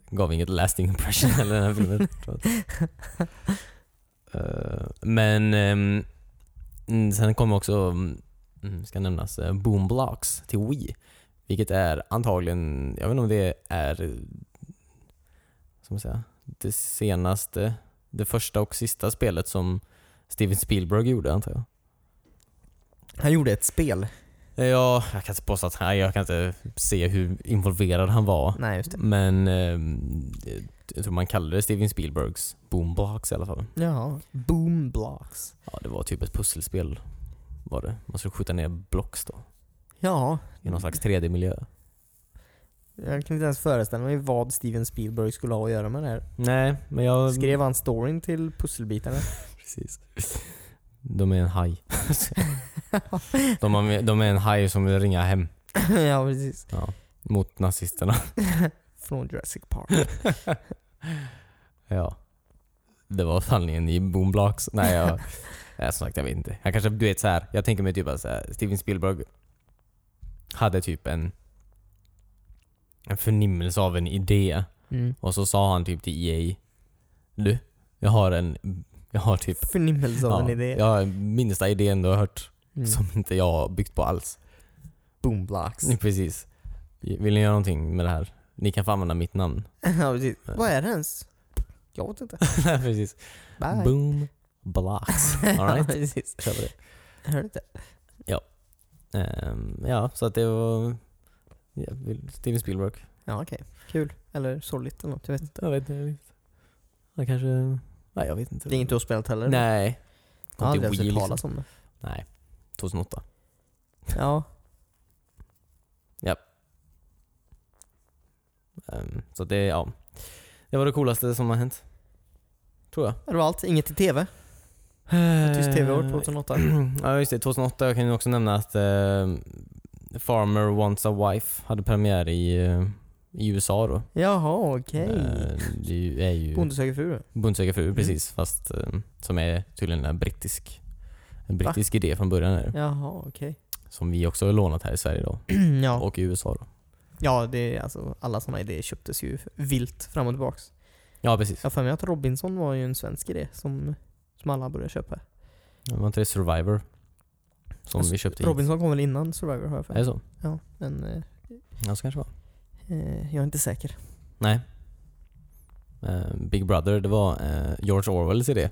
S1: Gav inget lasting impression eller den här filmen. tror jag. Eh, men ehm, mm, sen kom också, mm, ska nämnas, eh, Boom Blocks till Wii. Vilket är antagligen, jag vet inte om det är, eh, som jag säga, det senaste, det första och sista spelet som Steven Spielberg gjorde antar jag.
S2: Han gjorde ett spel.
S1: Eh, Ja, jag kan inte påstå att, nej, jag kan inte se hur involverad han var.
S2: Nej just det.
S1: Men ehm, jag tror man kallade det Steven Spielbergs boombox i alla fall.
S2: Jaha. Boom blocks.
S1: Ja, det var typ ett pusselspel var det. Man skulle skjuta ner blocks då.
S2: Ja.
S1: I någon slags 3D-miljö.
S2: Jag kan inte ens föreställa mig vad Steven Spielberg skulle ha att göra med det här.
S1: Nej, men jag...
S2: Skrev han storyn till pusselbitarna? [laughs]
S1: Precis. De är en [laughs] haj. de, har- de är en haj som vill ringa hem
S2: ja, precis. [laughs]
S1: mot nazisterna.
S2: Från Jurassic Park.
S1: [laughs] Ja. Det var sanningen i Boomblocks. Nej,
S2: [laughs]
S1: jag, nej, som sagt jag vet inte. Han kanske, du vet så här. jag tänker mig typ att så här, Steven Spielberg hade typ en, en förnimmelse av en idé.
S2: Mm.
S1: Och så sa han typ till EA Du, jag har en, jag har typ
S2: Förnimmelse av en
S1: ja,
S2: idé.
S1: Jag har minsta idén du har hört
S2: Mm.
S1: som inte jag har byggt på alls.
S2: Boom blocks.
S1: [laughs] Precis. Vill ni göra någonting med det här? Ni kan få använda mitt namn.
S2: [laughs] [laughs] ja, precis. Vad är det ens? Jag vet inte.
S1: Precis.
S2: Bye.
S1: Boom blocks.
S2: [laughs]
S1: All
S2: Ja,
S1: right.
S2: precis.
S1: Kör på det.
S2: Jag hörde inte.
S1: Ehm, ja, så att det var ja, Steven Spielberg.
S2: Ja, okej. Kul. Eller sorgligt eller något. Jag vet inte.
S1: Jag vet inte. Jag kanske... Nej, jag vet inte.
S2: Det är inget du har spelat heller?
S1: Nej.
S2: Jag har
S1: Kom till
S2: aldrig ens
S1: Wii,
S2: hört
S1: liksom.
S2: talas [laughs] om det.
S1: Nej. 2008.
S2: Ja.
S1: Ehm, så att det, ja. Det var det coolaste som har hänt. Tror jag.
S2: Det var allt. Inget i TV. Tyst TV år [clears throat] 2008.
S1: [clears throat] Ja just det, 2008. Jag kan ju också nämna att eh, Farmer Wants a Wife hade premiär i, eh, i USA då.
S2: Jaha, okej.
S1: Eh, det är ju, är ju
S2: Bonde Mm. söker fru.
S1: Bonde söker fru, precis. Fast eh, som är tydligen en brittisk, en brittisk idé från början. Är, det.
S2: Jaha, okej. [clears throat]
S1: Som vi också har lånat här i Sverige då.
S2: ja.
S1: Och i USA då.
S2: ja, det är alltså alla sådana idéer köptes ju vilt fram och tillbaks.
S1: Ja precis.
S2: Jag har för mig att Robinson var ju en svensk idé som, som alla började köpa.
S1: Var inte det Survivor? Som
S2: Alltså,
S1: vi köpte hit.
S2: Robinson kom väl innan Survivor har jag för
S1: Är det
S2: mig.
S1: så?
S2: Ja, men eh,
S1: Ja så kanske det var.
S2: eh, jag är inte säker. [laughs]
S1: Nej. Eh, Big Brother, det var eh, George Orwells idé.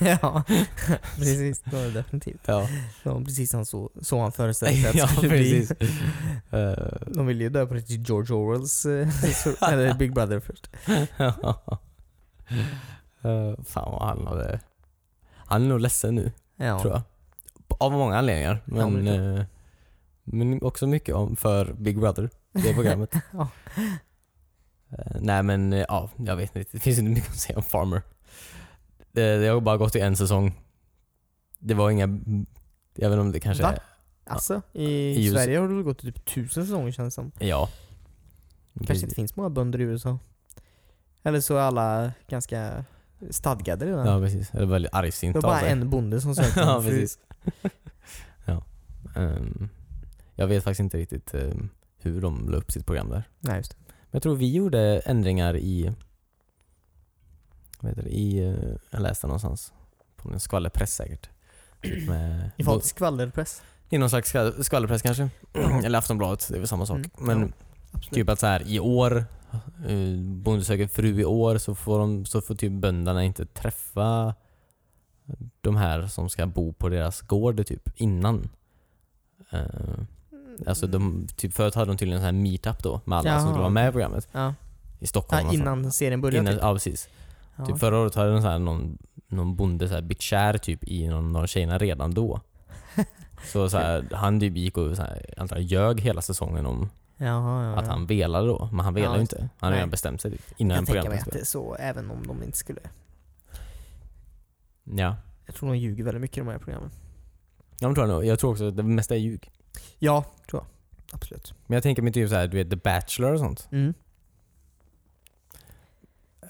S2: ja, [laughs] precis. Det var det definitivt.
S1: Ja,
S2: Det var precis han så, så han
S1: [laughs]
S2: föreställde [laughs] sig att det
S1: ja
S2: skulle bli.
S1: precis. [laughs] Eh,
S2: De ville ju döpa det till George Orwells, eh, sur-
S1: [laughs]
S2: eller Big Brother först.
S1: Eh, Fan vad han hade... Han är nog ledsen nu,
S2: Ja.
S1: tror jag. Av många anledningar.
S2: Ja,
S1: Men,
S2: men det är
S1: eh, men också mycket om för Big Brother, det programmet.
S2: [laughs] Ja.
S1: Eh, nej men, eh, ja, jag vet inte. Det finns inte mycket att säga om Farmer. Det, det har bara gått i en säsong. Det var inga... Jag vet inte om det kanske...
S2: Va?
S1: är-
S2: Alltså, i,
S1: I USA.
S2: Sverige har det väl gått typ tusen säsonger känns det som.
S1: Ja.
S2: kanske inte finns många bönder i USA. Eller så är alla ganska stadgade redan.
S1: Ja precis. Det var väldigt argsint
S2: det var
S1: av
S2: bara
S1: sig.
S2: en bonde som
S1: [laughs]
S2: sökte
S1: ja,
S2: en fru.
S1: precis. ja. Ehm, jag vet faktiskt inte riktigt ehm, hur de la upp sitt program där.
S2: Nej, just det.
S1: Men jag tror vi gjorde ändringar i... Vad heter det? I... eh, jag läste någonstans. På en skvallerpress säkert. Typ Med,
S2: I
S1: bo,
S2: fall skvallerpress.
S1: I någon slags skvall- skvallerpress kanske. [clears throat] Eller Aftonbladet, det är väl samma sak.
S2: Mm,
S1: Men
S2: ja, absolut.
S1: typ att så här i år, eh, Bonde söker fru i år, så får, de, så får typ bönderna inte träffa de här som ska bo på deras gård typ innan. Eh, alltså
S2: Mm.
S1: de, typ förut hade de tydligen en sån här meetup då med alla som
S2: Jaha,
S1: skulle vara med i programmet.
S2: Ja.
S1: I Stockholm
S2: Ja,
S1: någonstans.
S2: innan serien började.
S1: alltså.
S2: typ.
S1: Innan, ja, precis.
S2: ja.
S1: Typ förra året hade de så här någon, någon bonde så här bitchär typ i någon av tjejerna redan
S2: [laughs]
S1: då. Så, så här, han typ gick och så här, antagligen ljög hela säsongen om
S2: Jaha, ja, ja.
S1: att han velade då, men han velar
S2: Ja,
S1: ju
S2: just
S1: inte. Han har
S2: Nej.
S1: redan bestämt sig typ,
S2: Jag
S1: innan
S2: kan tänka mig
S1: programmet
S2: att det
S1: spelades.
S2: är så, även om de inte skulle.
S1: Ja,
S2: Jag tror de ljuger väldigt mycket i de här programmen.
S1: jag tror, jag nog. jag tror också att det mesta är ljug.
S2: Ja, tror jag. Absolut.
S1: Men jag tänker mig typ såhär, du vet The Bachelor och sånt.
S2: Mm.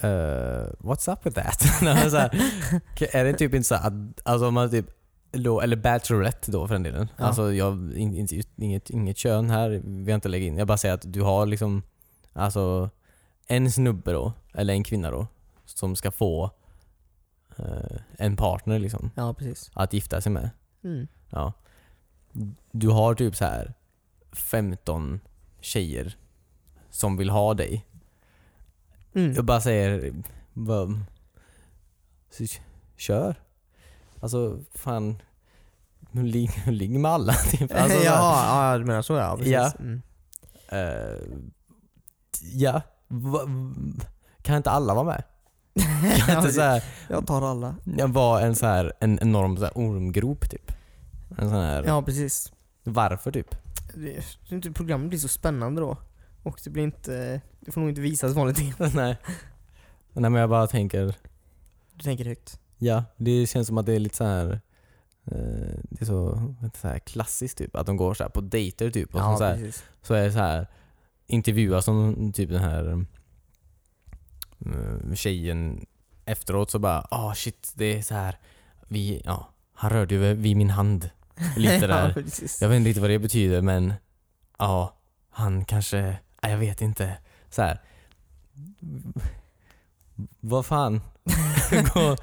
S1: Eh, what's up with that? [laughs] Nej, så här, k- är det typ inte så här att, alltså om man typ då, eller Bachelorette då för den delen.
S2: Ja.
S1: Alltså jag, in, in, inget, inget kön här vill jag inte lägga in. Jag bara säger att du har liksom, alltså en snubbe då, eller en kvinna då, som ska få eh, en partner liksom,
S2: Ja, precis.
S1: att gifta sig med.
S2: Mm.
S1: Ja. Du har typ så här 15 tjejer som vill ha dig.
S2: Mm.
S1: Jag bara säger, bara, "S- kör. Alltså fan, ligg, ligg med alla [laughs] typ. Alltså, så Mm. här,
S2: [laughs] ja, ja, du menar så [laughs] ja. Precis.
S1: eh, Ja.
S2: Mm.
S1: eh, ja. Va, kan inte alla
S2: [laughs]
S1: vara med? Kan inte så här,
S2: Jag tar alla.
S1: vara en, så här, en enorm så här ormgrop typ? En sån här,
S2: Ja, precis.
S1: varför typ? [laughs]
S2: Det, jag tror inte programmet blir så spännande då. Och det blir inte... Det får nog inte visas vanligt.
S1: Nej. Nej men jag bara tänker,
S2: Du tänker högt.
S1: ja det känns som att det är lite så här. eh, Det är så, så här klassiskt typ, att de går så här på dejter typ och så, så här,
S2: precis.
S1: så är det så här intervjuas som typ den här eh, tjejen efteråt så bara ah shit det är så här vi, ja, han rörde ju vid min hand
S2: [laughs]
S1: lite
S2: ja,
S1: där.
S2: precis.
S1: Jag vet inte riktigt vad det betyder men ja, han kanske, nej, jag vet inte. Så här. Vad [laughs] fan? Gå,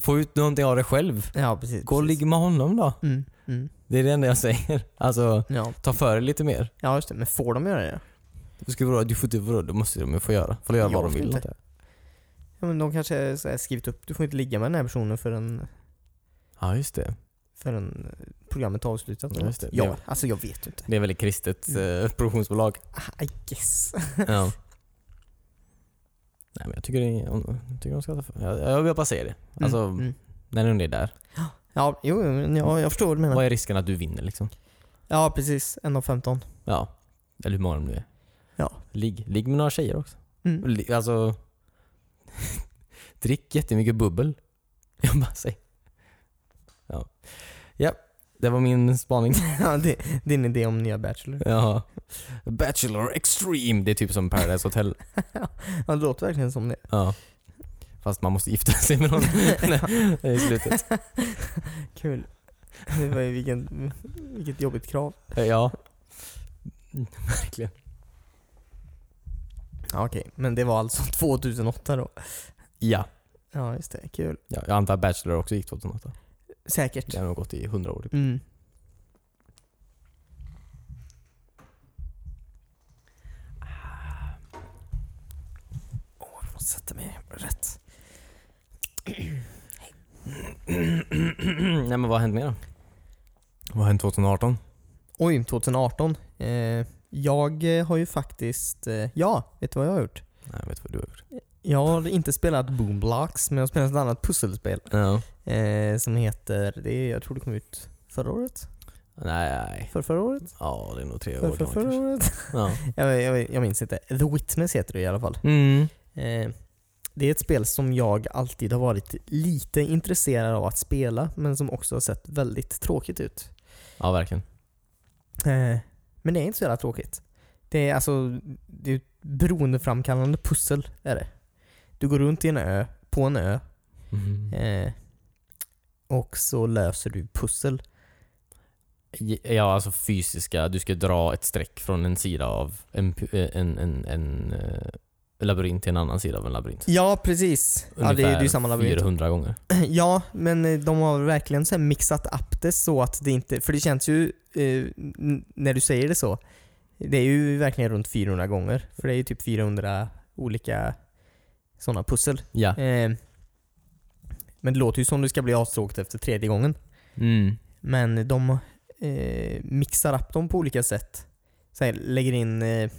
S1: få ut någonting av det själv.
S2: Ja, precis.
S1: Gå och
S2: precis.
S1: ligg med honom då.
S2: Mm, mm.
S1: Det är det enda jag säger. Alltså,
S2: Ja.
S1: ta för dig lite mer.
S2: ja, just det. Men får de göra det?
S1: Du ska vadå? Du får inte vadå? Då måste de ju få göra. Får de göra
S2: Jag
S1: vad de
S2: får
S1: vill.
S2: inte. Ja, men de kanske är så här skrivit upp. Du får inte ligga med den här personen förrän,
S1: Ja just det.
S2: förrän programmet är avslutat.
S1: Ja,
S2: eller
S1: just
S2: något.
S1: det.
S2: Ja,
S1: Det-
S2: alltså jag vet ju inte.
S1: Det är väl ett kristet
S2: Mm.
S1: eh, produktionsbolag.
S2: I guess.
S1: ja. Nej men jag tycker, det är, jag tycker de ska ta för jag, jag vill bara säga det. Alltså
S2: Mm, mm.
S1: när den är där.
S2: Ja, jo, jo, men jag, jag förstår vad du menar.
S1: Vad är risken att du vinner liksom?
S2: Ja, precis. En av 15.
S1: Ja. Eller hur många de nu är.
S2: Ja.
S1: Ligg, ligg med några tjejer också.
S2: Mm.
S1: Ligg- Alltså. [laughs] drick jättemycket bubbel. [laughs] Jag bara säger. Ja. Ja. Det var min spaning.
S2: [laughs] Ja, det, det är en idé om nya Bachelor.
S1: [laughs]
S2: [laughs]
S1: Ja. Bachelor Extreme, det är typ som Paradise Hotel.
S2: Ja, det låter verkligen som det.
S1: [laughs] Ja. Fast man måste gifta sig [laughs] med någon [laughs] i slutet.
S2: Kul. Det var ju vilken, vilket jobbigt krav.
S1: Ja. Verkligen.
S2: Ja, okej. Men det var alltså 2008 då.
S1: Ja.
S2: Ja, just det. Kul.
S1: ja. Jag antar att Bachelor också gick 2008.
S2: Säkert.
S1: Det har nog gått i 100 år. Typ.
S2: Mm. Ah. Åh, jag måste sätta mig rätt.
S1: [clears throat] Nej men vad har hänt mer då? Vad har hänt 2018?
S2: Oj, 2018. Eh, jag eh, har ju faktiskt... Eh, ja, vet du vad jag har gjort?
S1: Nej jag vet vad du har gjort.
S2: Jag har inte spelat Boomblocks, men jag har spelat ett annat pusselspel.
S1: Ja.
S2: Eh, som heter... Det, är- jag tror det kom ut förra året?
S1: Nej, nej.
S2: För förra året?
S1: Ja det är nog tre
S2: För,
S1: år
S2: för,
S1: gammalt
S2: förra
S1: kanske. [laughs]
S2: året? [laughs]
S1: Ja.
S2: Jag, jag, jag minns inte. The Witness heter det i alla fall.
S1: Mm.
S2: Eh, det är ett spel som jag alltid har varit lite intresserad av att spela, men som också har sett väldigt tråkigt ut.
S1: Ja verkligen.
S2: Eh, men det är inte så jävla tråkigt. Det är alltså det är ett beroendeframkallande pussel. Är det. Du går runt i en ö, på en ö,
S1: Mm.
S2: eh, och så löser du pussel.
S1: Ja, alltså fysiska. Du ska dra ett streck från en sida av en, pu- en, en, en, eh, labyrint till en annan sida av en labyrint.
S2: Ja, precis. Ja, det, är- det är ju samma labyrint.
S1: 400 gånger.
S2: Ja, men eh, de har verkligen så här mixat upp det så att det inte... För det känns ju, eh, n- när du säger det så, det är ju verkligen runt 400 gånger. För det är ju typ 400 olika sådana pussel.
S1: Ja.
S2: Eh, men det låter ju som det ska bli avstråkt efter tredje gången.
S1: Mm.
S2: Men de eh, mixar upp dem på olika sätt. Så här, lägger in, eh,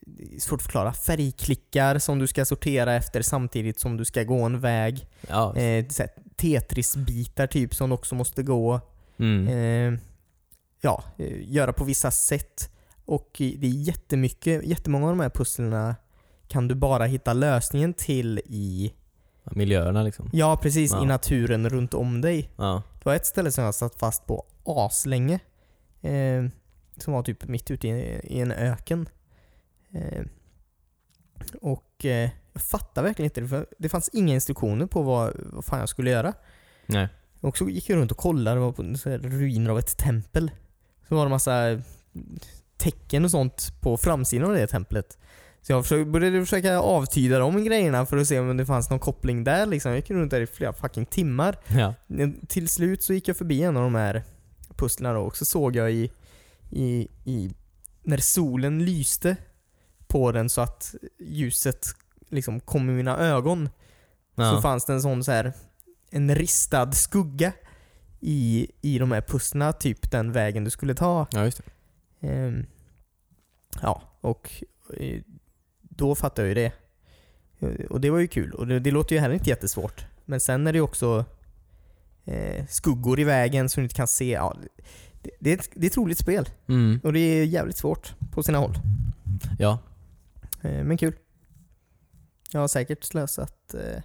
S2: det är svårt att förklara, färgklickar som du ska sortera efter samtidigt som du ska gå en väg.
S1: Ja.
S2: Eh, så här Tetris-bitar typ som också måste gå.
S1: Mm.
S2: Eh, ja, eh, göra på vissa sätt. Och i- det är jättemycket, jättemånga av de här pusslerna kan du bara hitta lösningen till i,
S1: Miljöerna liksom.
S2: ja precis,
S1: Ja.
S2: i naturen runt om dig.
S1: Ja.
S2: Det var ett ställe som jag satt fast på aslänge. Eh, som var typ mitt ute i, i en öken. Eh, och eh, jag fattade verkligen inte det. För det fanns inga instruktioner på vad, vad fan jag skulle göra.
S1: Nej.
S2: Och så gick jag runt och kollade, det var på så här ruiner av ett tempel. Så var det massa eh, tecken och sånt på framsidan av det templet. Så jag försökte, började försöka avtyda de grejerna för att se om det fanns någon koppling där liksom. Jag gick runt där i flera fucking timmar.
S1: Ja.
S2: Till slut så gick jag förbi en av de här pusslarna då och så såg jag i, i, i när solen lyste på den så att ljuset liksom kom i mina ögon så
S1: Ja.
S2: fanns det en sån så här en ristad skugga i, i de här pusslarna, typ den vägen du skulle ta.
S1: ja, just det.
S2: Ehm, ja, och eh, då fattar jag ju det. Eh, Och det var ju kul. Och det, det låter ju heller inte jättesvårt. Men sen är det ju också eh, skuggor i vägen som du inte kan se. Ja, det, det, är ett, det är ett roligt spel
S1: Mm.
S2: och det är jävligt svårt på sina håll.
S1: Ja.
S2: Eh, men kul. Jag har säkert slösat eh,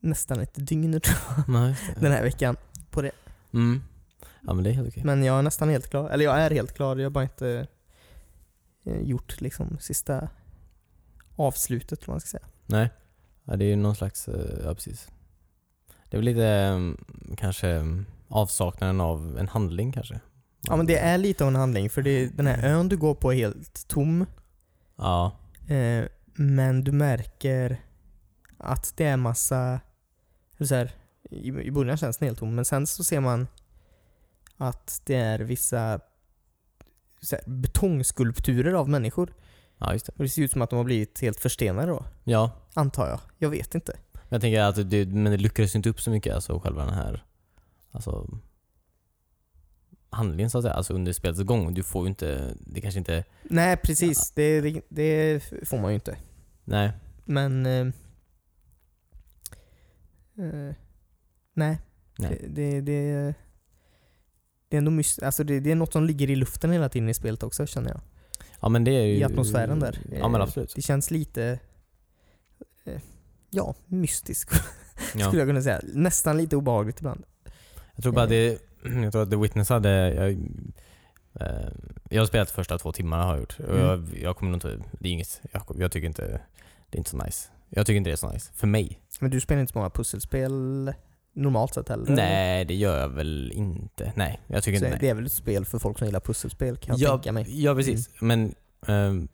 S2: nästan ett dygn tror
S1: Nej, just det.
S2: jag, den här veckan på det.
S1: Mm. Ja men det är helt okej.
S2: Men jag är nästan helt klar. Eller jag är helt klar. Jag har bara inte eh, gjort liksom sista avslutet eller vad man ska säga.
S1: Nej. Ja, det är ju någon slags, eh, ja precis. Det är väl lite eh, kanske eh, avsaknaden av en handling kanske.
S2: Ja men det är lite av en handling för det, den här ön du går på är helt tom.
S1: Ja.
S2: Eh, men du märker att det är massa... eller Så här, i, I början känns den helt tom, men sen så ser man att det är vissa så här, betongskulpturer av människor.
S1: Ja just det.
S2: Och det ser ut som att de har blivit helt förstenade då.
S1: Ja.
S2: Antar jag. Jag vet inte.
S1: Men Jag tänker att det, men det lyckades ju inte upp så mycket alltså själva den här alltså, handlingen så att säga, alltså under spelets gång. Du får ju inte, det kanske inte,
S2: Nej precis, det, det, det får man ju inte.
S1: nej.
S2: Men... Eh, eh, nej.
S1: Nej.
S2: Det, det, det, det är ändå mys- alltså det, det är något som ligger i luften hela tiden i spelet också känner jag.
S1: Ja men det är ju...
S2: I atmosfären där.
S1: Eh,
S2: Eh,
S1: Ja men absolut.
S2: Det känns lite... Eh, ja, mystisk
S1: Ja.
S2: skulle jag kunna säga. Nästan lite obehagligt ibland.
S1: Jag tror bara
S2: Mm.
S1: det, jag tror att The Witness hade, jag, eh, jag har spelat första två timmarna har jag gjort.
S2: Mm.
S1: Och jag, jag kommer nog inte, det är inget, jag, jag tycker inte, det är inte så nice. Jag tycker inte det är så nice. För mig.
S2: Men du spelar inte så många pusselspel normalt sett heller?
S1: Nej det gör jag väl inte. Nej, jag tycker
S2: Mm. Så
S1: inte nej.
S2: det är väl ett spel för folk som gillar pusselspel kan jag
S1: ja,
S2: tänka mig. Mm.
S1: Ja, precis. Men ehm,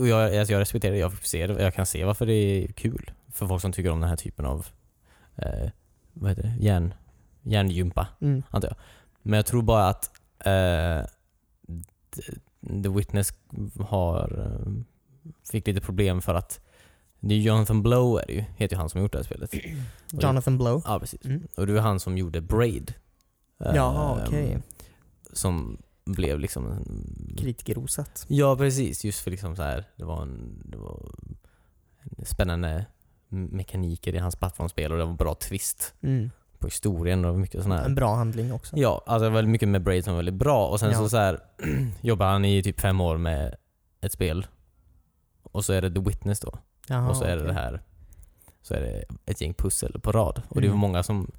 S1: och jag, alltså jag respekterar det. Jag, ser, det. jag kan se varför det är kul för folk som tycker om den här typen av eh, vad heter det? Järn, järngympa,
S2: Mm.
S1: antar jag. Men jag tror bara att eh, The- The Witness har, eh, fick lite problem för att det är Jonathan Blow är det ju, heter ju han som har gjort det här spelet. Och-
S2: Jonathan Blow.
S1: Ja, precis.
S2: Mm.
S1: Och det var han som gjorde Braid. Eh,
S2: Ja, okej.
S1: Som blev liksom en
S2: Kritikerrosat.
S1: Ja precis, just för liksom så här, det var en, det var en spännande mekaniker i hans plattformsspel och det var en bra twist
S2: Mm.
S1: på historien och mycket sån
S2: En
S1: här.
S2: bra handling också.
S1: Ja, alltså det var väldigt mycket med Braid som var väldigt bra och sen
S2: Typ. Ja.
S1: så, så här, [clears throat] jobbade han i typ fem år med ett spel och så är det The Witness då
S2: Jaha,
S1: och så är det
S2: Ah, okej.
S1: det här så är det ett gäng pussel på rad och det var
S2: Mm.
S1: många som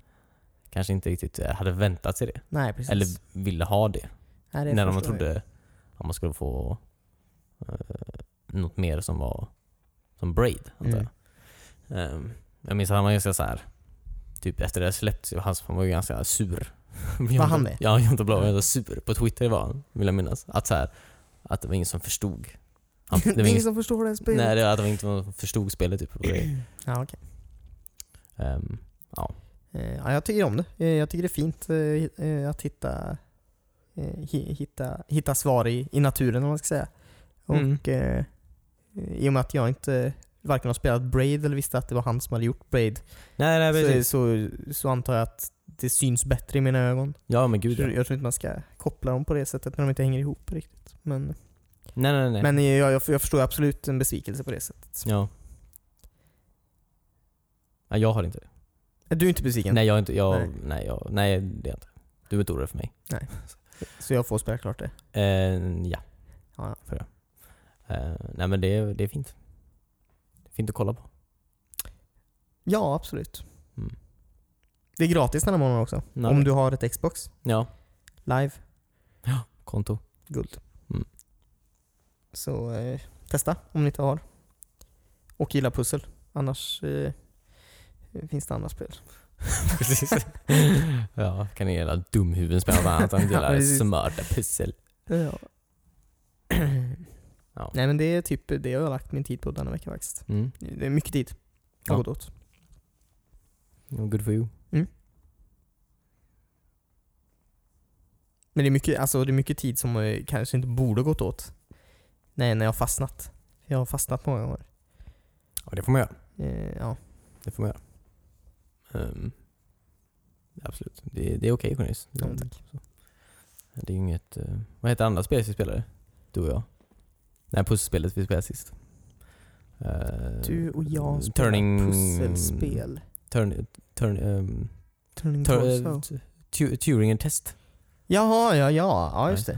S1: kanske inte riktigt eh, hade väntat sig det
S2: Nej, precis.
S1: eller ville ha det
S2: Nej, det
S1: när de
S2: förstår jag.
S1: trodde att man skulle få eh, något mer som var som Braid, antar
S2: Mm.
S1: jag. Ehm, jag minns att han var ganska så här typ efter det hade släppts, han han var ju ganska sur. [laughs] Var
S2: han det?
S1: Ja, Jonte Blå var ganska sur. På Twitter var han, vill jag minnas. Att, så här, att det var ingen som förstod.
S2: [laughs]
S1: Han,
S2: det är ingen som förstår det här spelet.
S1: nej, det var, att det var inte någon som förstod spelet. Typ, och det,
S2: [clears throat] Ja, okej.
S1: ehm,
S2: Eh, ja, jag tycker om det. Eh, Jag tycker det är fint eh, hi- eh, att hitta, eh, hi- hitta, hitta svar i, i naturen om man ska säga. Och
S1: Mm.
S2: eh, i och med att jag inte varken har spelat Braid eller visste att det var han som hade gjort Braid
S1: nej, nej
S2: så,
S1: precis.
S2: så, så antar jag att det syns bättre i mina ögon.
S1: Ja men gud ja.
S2: Jag tror inte man ska koppla dem på det sättet när de inte hänger ihop riktigt. Men,
S1: Nej, nej, nej.
S2: men eh, jag, jag, jag förstår absolut en besvikelse på det sättet.
S1: ja. ja. Jag har inte det.
S2: Du är inte besviken?
S1: Nej, jag är inte, jag,
S2: Nej.
S1: nej. jag, nej det är jag inte. Du är inte orolig för mig.
S2: Så jag får spela klart det?
S1: Eh, ja.
S2: Ja.
S1: Får jag. Eh, nej men det, är- det är fint. Det är fint att kolla på.
S2: Ja, absolut.
S1: Mm.
S2: Det är gratis den här månaden också.
S1: Ja.
S2: Om du har ett Xbox
S1: Ja,
S2: live,
S1: [laughs] konto.
S2: guld.
S1: Mm.
S2: Så eh, testa om ni inte har. Och gilla pussel. Annars eh, finns det andra spel.
S1: Precis. ja, kan ni gilla dumhuvuden spela något annat än att
S2: Ja,
S1: gilla
S2: precis.
S1: smarta pussel.
S2: [clears throat] Ja.
S1: Ja.
S2: Nej men det är typ det jag har lagt min tid på denna vecka faktiskt.
S1: Mm.
S2: Det är mycket tid.
S1: Ja.
S2: har gått åt.
S1: Ja, Good for you.
S2: Men det är mycket, alltså, det är mycket tid som eh, kanske inte borde ha gått åt. Nej, när jag har fastnat. Jag har fastnat många gånger.
S1: Ja, det får man göra.
S2: Eh, ja.
S1: Det får man göra. Ehm, absolut. Det, det är okej Cornelis.
S2: Ja,
S1: Det,
S2: men tack.
S1: det är inget... eh, vad heter andra spel vi spelade? Du och jag? Nej, pusselspelet vi spelade sist. Eh,
S2: Du och jag spelar
S1: turning-
S2: pusselspel.
S1: Turn, turn, ehm,
S2: Turning
S1: tur, eh,
S2: torso.
S1: tu- tu- Turingen-test.
S2: Jaha, ja, ja. Ja, just
S1: Nej.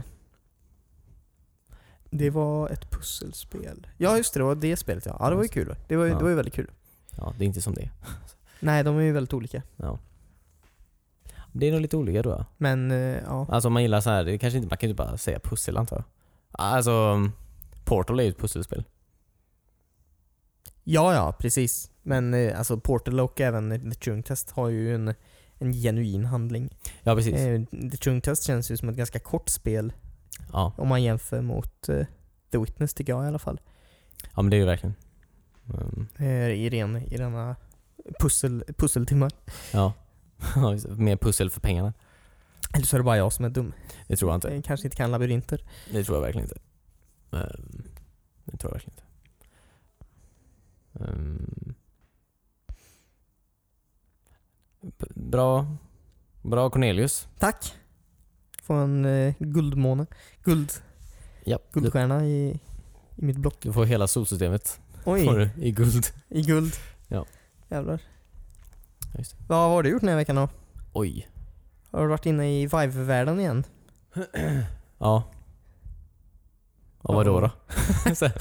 S2: det. Det var ett pusselspel. Ja, just det. Det var det spelet ja. Ja, det var ju
S1: Just
S2: kul. Det var ju,
S1: Ja.
S2: det var ju väldigt kul.
S1: Ja, det är inte som det.
S2: Nej, de är ju väldigt olika.
S1: Det är nog lite olika tror jag.
S2: Men eh, ja.
S1: Alltså om man gillar så här, det kanske inte, man kan ju inte bara säga pussel antar jag. Alltså, um, Portal är ju ett pusselspel.
S2: Ja, ja, precis. Men eh, alltså Portal och även The Turing Test har ju en, en genuin handling.
S1: Ja precis.
S2: Eh, The Turing Test känns ju som ett ganska kort spel
S1: Ja.
S2: om man jämför mot eh, The Witness tycker jag i alla fall.
S1: ja, men det är ju verkligen. Um,
S2: Eh, I, ren, i rena pussel, pusseltimmar.
S1: ja. [laughs] Ja, just det. Mer pussel för pengarna.
S2: Eller så är det bara jag som är dum.
S1: Det tror jag inte.
S2: Eh, Kanske inte kan labyrinter.
S1: Det tror jag verkligen inte. Ehm, det tror jag verkligen inte. Ehm. B- bra. Bra Cornelius.
S2: Tack! Får en eh, guldmåne. Guld,
S1: Ja, du,
S2: guldstjärna i, i mitt block.
S1: du får hela solsystemet får
S2: Oj,
S1: du, i guld.
S2: i guld.
S1: Ja.
S2: Jävlar.
S1: Ja, just det.
S2: Vad har du gjort den här veckan då?
S1: Oj.
S2: Har du varit inne i Vive-världen igen?
S1: Ja. Ja, vadå då? Så här.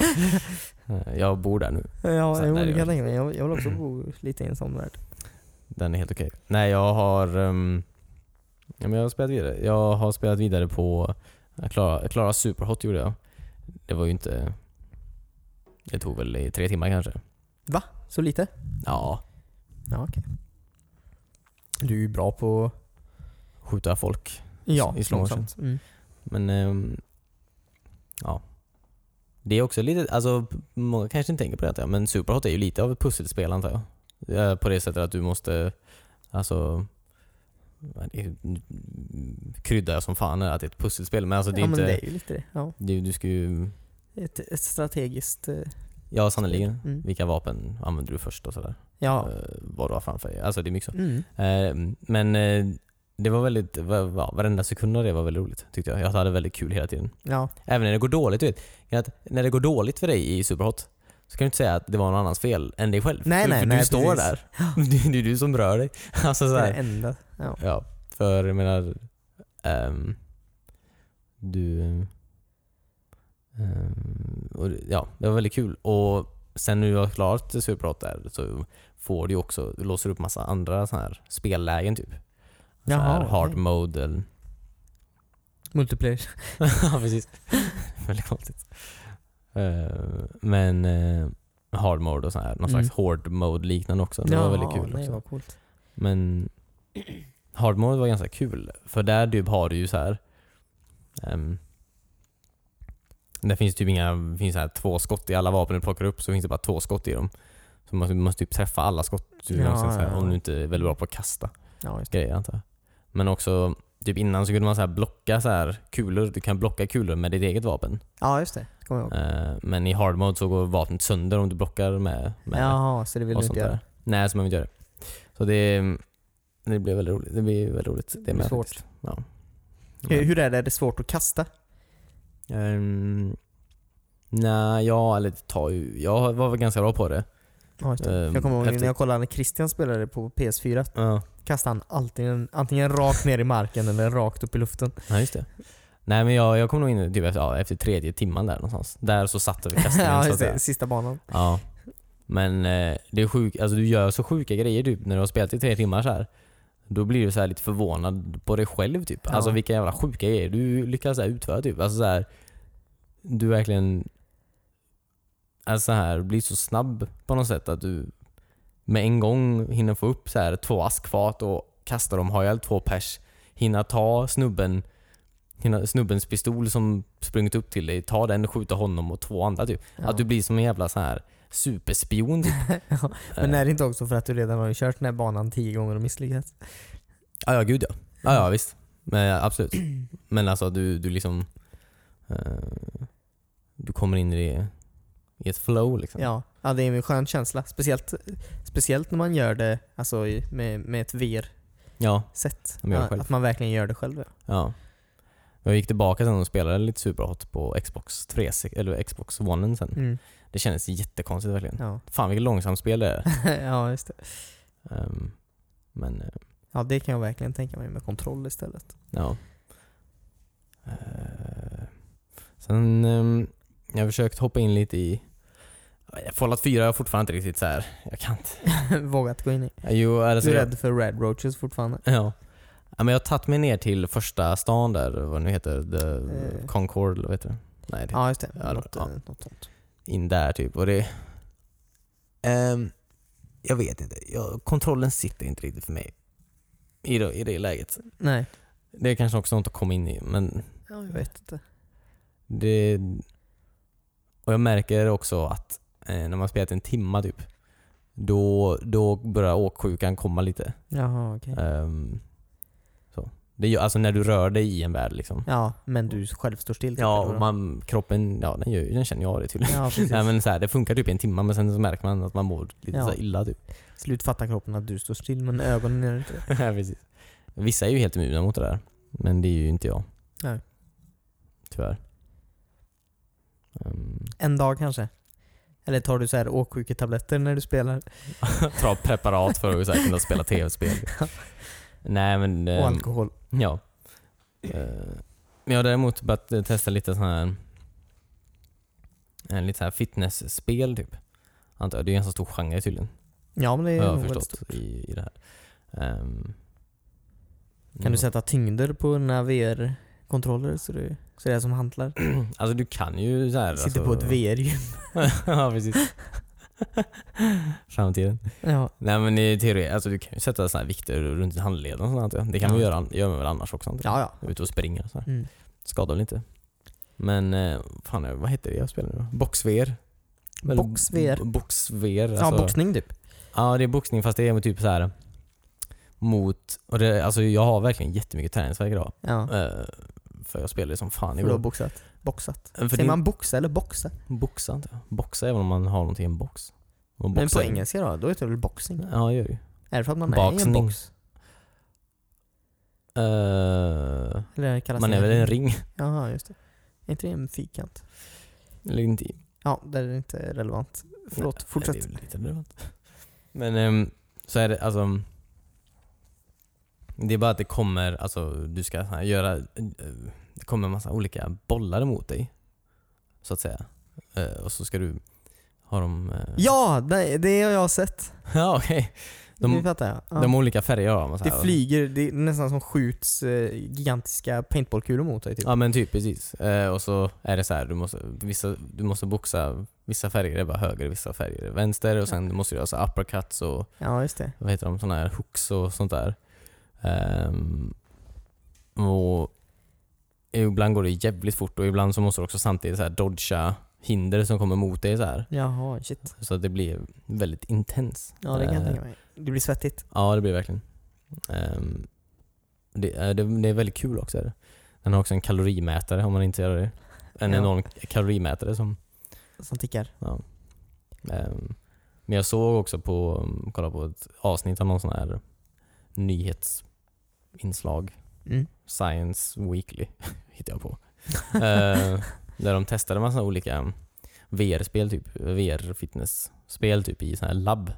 S1: Eh, [laughs] jag bor där nu.
S2: Ja,
S1: Så,
S2: jo,
S1: nej, det gör
S2: det kan jag
S1: jag
S2: tänka mig. Jag, jag vill också
S1: [clears throat]
S2: bo lite i en sån värld.
S1: Den är helt okej. Nej, jag har... ehm, ja, men jag, har spelat vidare. jag har spelat vidare på eh, Klara, Klara Superhot gjorde jag. Det var ju inte... Det tog väl i tre timmar kanske.
S2: Så lite?
S1: Ja,
S2: Ja, okej. Du är ju bra på...
S1: skjuta folk.
S2: Ja,
S1: i slow motion.
S2: långsamt. Mm.
S1: Men... ehm, ja. Det är också lite... Alltså, många kanske inte tänker på det, men Superhot är ju lite av ett pusselspel antar jag. Eh, På det sättet att du måste... Alltså... ja, det är- Kryddar jag som fan är att det är ett pusselspel, men alltså det är
S2: ja,
S1: inte...
S2: men det är ju lite det. Ja.
S1: Du, du ska ju...
S2: Ett, ett strategiskt... eh,
S1: Ja, sannoliken.
S2: Mm.
S1: Vilka vapen använder du först och sådär.
S2: Ja.
S1: Eh, vad du har framför dig. Alltså det är mycket så.
S2: Mm.
S1: Eh, men eh, det var väldigt, va- va- varenda sekund av det var väldigt roligt tyckte jag. Jag hade väldigt kul hela tiden.
S2: Ja.
S1: Även när det går dåligt, du vet. Att när det går dåligt för dig i Superhot så kan du inte säga att det var någon annans fel än dig själv.
S2: Nej,
S1: för,
S2: nej,
S1: för
S2: nej,
S1: du står
S2: precis.
S1: där. [laughs] Det, det är du som rör dig. [laughs] Alltså
S2: Det
S1: så
S2: är det
S1: här.
S2: enda. Ja.
S1: Ja, för jag menar... ehm, du... ehm, och, det- ja, det var väldigt kul. Och sen när du har klarat Superhot där så får du ju också, du låser upp massa andra såna här spellägen typ. Så här
S2: okej.
S1: hard mode eller...
S2: Multiplayer.
S1: [laughs] ja, precis. väldigt konstigt. Eh, men eh, hard mode och sån här, någon slags
S2: Mm.
S1: hård mode liknande också. Det var väldigt kul
S2: nej,
S1: också.
S2: Vad coolt.
S1: Men hard mode var ganska kul, för där typ har du ju så här. ehm, där finns typ inga, finns så här två skott i alla vapen du plockar upp, så finns det bara två skott i dem. Så man måste typ träffa alla skott du
S2: Ja,
S1: någonsin, så här,
S2: ja, ja.
S1: om du inte är väldigt bra på att kasta
S2: Ja, just det.
S1: grejer antar jag. Men också, typ innan så kunde man så här blocka så här kulor, du kan blocka kulor med ditt eget vapen.
S2: Ja, just det. Kommer jag ihåg.
S1: Eh, men i hard mode så går vapnet sönder om du blockar med, med
S2: Jaha, så det vill
S1: och
S2: du
S1: sånt
S2: inte göra?
S1: där. Nej, så man vill inte göra det. Så det, det blir väldigt roligt. Det blir väldigt roligt. Det
S2: Det
S1: är
S2: är
S1: med
S2: svårt.
S1: faktiskt. Ja.
S2: Hur, hur är det? Är det svårt att kasta?
S1: Ehm, nej, jag, eller, ta, ju- jag var väl ganska bra på det.
S2: Ja, just det.
S1: Ehm,
S2: jag kommer ihåg
S1: efter-
S2: när jag kollade när Christian spelade på PS4.
S1: Ja,
S2: Kastade han antingen, antingen rakt ner i marken eller rakt upp i luften.
S1: ja just det. Nej men jag, jag kom nog in typ efter, ja, efter tredje timman där någonstans. Där så satte vi kastningen
S2: [laughs] ja,
S1: så
S2: just
S1: att säga.
S2: det. Sista banan.
S1: Ja. Men eh, det är sjuk, alltså du gör så sjuka grejer typ när du har spelat i tre timmar så här. Då blir du så här lite förvånad på dig själv typ.
S2: Ja.
S1: Alltså vilka jävla sjuka grejer du lyckas så här utföra typ. Alltså så här, du verkligen alltså så här, blir så snabb på något sätt att du med en gång hinner få upp så här två askfat och kasta dem, har ihjäl två pers. Hinna ta snubben, hinna, snubbens pistol som sprungit upp till dig, ta den, skjuta honom och två andra typ.
S2: Ja.
S1: Att du blir som en jävla så här superspion. typ.
S2: [laughs] Ja, Men är det inte också för att du redan har ju kört den här banan tio gånger och misslyckats?
S1: Ja, ja gud ja. Ja, ja visst. Men, ja,
S2: [clears throat]
S1: absolut. Men alltså du, du liksom... eh, du kommer in i, det, i ett flow liksom.
S2: Ja. ja, det är en skön känsla. Speciellt, speciellt när man gör det alltså, i- med, med ett VR-sätt.
S1: Ja. Man gör det själv.
S2: att man verkligen gör det själv. ja.
S1: ja. Jag gick tillbaka sen och spelade lite superhot på Xbox 360, eller Xbox One sen.
S2: Mm.
S1: Det kändes jättekonstigt verkligen.
S2: Ja. [laughs]
S1: Fan vilket långsamt spel det är.
S2: ja, just det.
S1: Ehm, men eh,
S2: Ja, det kan jag verkligen tänka mig med kontroll istället. [laughs]
S1: Ja. Eh, Sen, ehm, jag har försökt hoppa in lite i... Fallout 4 har jag fortfarande inte riktigt så här. jag kan inte.
S2: Vågat gå in i.
S1: Jo,
S2: Du
S1: alltså,
S2: är
S1: jag,
S2: rädd för Red Roaches fortfarande?
S1: ja. ja. men jag har tagit mig ner till första stan där, vad nu heter, The
S2: Eh.
S1: Concord, eller vad heter det? Nej, det
S2: Ja, just det.
S1: Ja,
S2: något,
S1: ja.
S2: eh, något sånt.
S1: in där typ. Och det... Ehm, jag vet inte, jag, kontrollen sitter inte riktigt för mig. I det, I det läget.
S2: Nej.
S1: Det är kanske också något att komma in i, men
S2: Ja, jag vet inte.
S1: Det, och jag märker också att eh, när man spelat en timma typ, då, då börjar åksjukan komma lite.
S2: Jaha, okej.
S1: Ehm, så. Det gör, alltså när du rör dig i en värld liksom.
S2: Ja, men du själv står still? typ,
S1: Ja,
S2: eller
S1: och
S2: vadå?
S1: man, kroppen, ja den, gör, ju- den känner jag av det tydligen.
S2: [laughs] Ja, precis.
S1: Nej, men så här, det funkar typ i en timma men sen så märker man att man mår lite
S2: Ja.
S1: så här illa typ.
S2: Slut fattar kroppen att du står still, men ögonen gör inte
S1: [laughs]
S2: det.
S1: Ja, precis. Vissa är ju helt immuna mot det där. Men det är ju inte jag.
S2: Nej.
S1: Tyvärr. Um,
S2: En dag kanske? Eller tar du så här åksjuketabletter när du spelar?
S1: [laughs] ta preparat för att så här kunna spela
S2: [laughs]
S1: tv-spel. Nej men...
S2: Och
S1: ehm,
S2: alkohol?
S1: ja. Eh, Men jag har däremot börjat eh, testa lite sån här... eh, Lite så här fitnessspel typ. Antar jag. Det är en ganska stor genre tydligen.
S2: Ja, men det
S1: Har
S2: är
S1: jag
S2: nog väldigt
S1: förstått
S2: stort.
S1: i, i det här. Ehm, mm.
S2: Kan
S1: ja.
S2: du sätta tyngder på dina VR-kontroller så, du, så det är som hantlar?
S1: Alltså du kan ju så här...
S2: Sitter
S1: [clears throat] alltså, [laughs]
S2: på ett VR-gym?
S1: ja precis. Framtiden.
S2: Ja.
S1: Nej men i teori, alltså du kan ju sätta såna här vikter runt handleden och sånt antar jag. Det kan man
S2: Ja.
S1: göra, an- gör man väl annars också antar jag.
S2: Ja, ja.
S1: Ute och springer och så här.
S2: Mm.
S1: Skadar väl inte. Men eh, fan, vad heter det jag spelar nu Boxver.
S2: Box-VR.
S1: Boxver.
S2: Ja,
S1: Alltså, ja,
S2: boxning typ.
S1: det är boxning fast det är typ så här mot, och det, alltså jag har verkligen jättemycket träningsvärk idag.
S2: Ja.
S1: Eh, för jag spelade som fan
S2: För du har
S1: igår.
S2: boxat. Boxat.
S1: För det
S2: Säger
S1: är-
S2: man boxa eller boxa?
S1: Boxa inte. Boxa även om man har någonting i en box. Man
S2: Men
S1: boxar
S2: på
S1: ju.
S2: engelska då? Då heter det väl boxing?
S1: Ja, jag gör ju.
S2: Är det för att man är i
S1: Boxning.
S2: en box?
S1: Eh,
S2: Eller kallas
S1: man
S2: det
S1: är väl i en ring? [laughs]
S2: Jaha, just det. Är inte det en fyrkant?
S1: Eller inte
S2: Ja, det är inte relevant. Förlåt,
S1: Nej,
S2: fortsätt.
S1: nej, det är väl lite relevant. Men ehm, så är det alltså... Det är bara att det kommer, alltså du ska så här, göra... eh, Det kommer en massa olika bollar emot dig. Så att säga. Eh, och så ska du ha dem... eh,
S2: Ja, det, det har jag sett.
S1: [laughs] ja okej.
S2: nu
S1: De,
S2: fattar jag. Ja.
S1: de har olika färger har de. så här.
S2: det flyger, det är nästan som skjuts eh, gigantiska paintballkulor mot dig typ.
S1: Ja men typ precis. Eh, och så är det så här, du måste, vissa, du måste boxa, vissa färger är bara höger, vissa färger är vänster och sen måste du göra så här uppercuts och
S2: Ja, just det.
S1: vad heter de, sådana här hooks och sånt där. Ehm, och ibland går det jävligt fort och ibland så måste du också samtidigt så här dodga hinder som kommer mot dig så här.
S2: Jaha, shit.
S1: Så att det blir väldigt intens.
S2: Ja, det kan jag
S1: Eh,
S2: tänka mig. Det blir svettigt.
S1: Ja, det blir det verkligen. Ehm, det, är- det, det är väldigt kul också. Är det. Den har också en kalorimätare om man är intresserad av det. En
S2: Ja.
S1: enorm kalorimätare som...
S2: Som tickar.
S1: Ja. Ehm, men jag såg också på, kolla på ett avsnitt av någon sån här nyhetsinslag.
S2: Mm.
S1: Science Weekly [laughs] hittade jag
S2: [laughs]
S1: på. Ehm, där de testade massa olika VR-spel, typ VR-fitness-spel typ i sån här labb.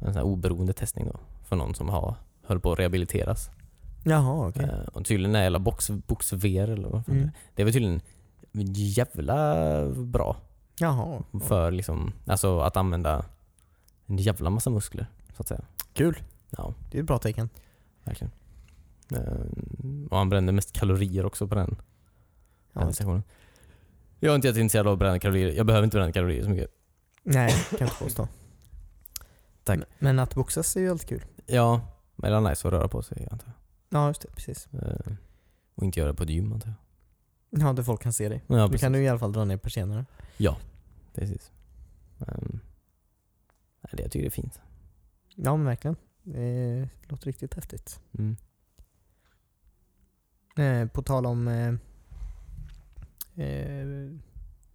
S1: En sån här oberoende testning då, för någon som har, höll på att rehabiliteras.
S2: Jaha, okej.
S1: Eh, och tydligen är hela box, box VR eller vad fan det
S2: Mm.
S1: är. Det var tydligen jävla bra
S2: Jaha.
S1: för liksom, alltså att använda en jävla massa muskler så att säga.
S2: Kul.
S1: Ja,
S2: Det är ett bra tecken.
S1: verkligen. Eh, och han brände mest kalorier också på den,
S2: Ja,
S1: den sessionen. Jag är inte jätteintresserad av att bränna kalorier. Jag behöver inte bränna kalorier så mycket.
S2: nej, kan jag inte påstå.
S1: [laughs] Tack.
S2: Men- Men att boxas är ju alltid kul.
S1: Ja, men det är nice att röra på sig antar
S2: Ja, just det. Precis.
S1: jag. Eh, och inte göra det på ett gym antar jag.
S2: Ja, där folk kan se dig.
S1: Ja,
S2: Då
S1: precis.
S2: kan du i alla fall dra ner persiennerna.
S1: precis. Ehm, nej, det, jag tycker det är fint.
S2: Ja, men verkligen. Det låter riktigt häftigt.
S1: Mm.
S2: Eh, på tal om... Eh, eh,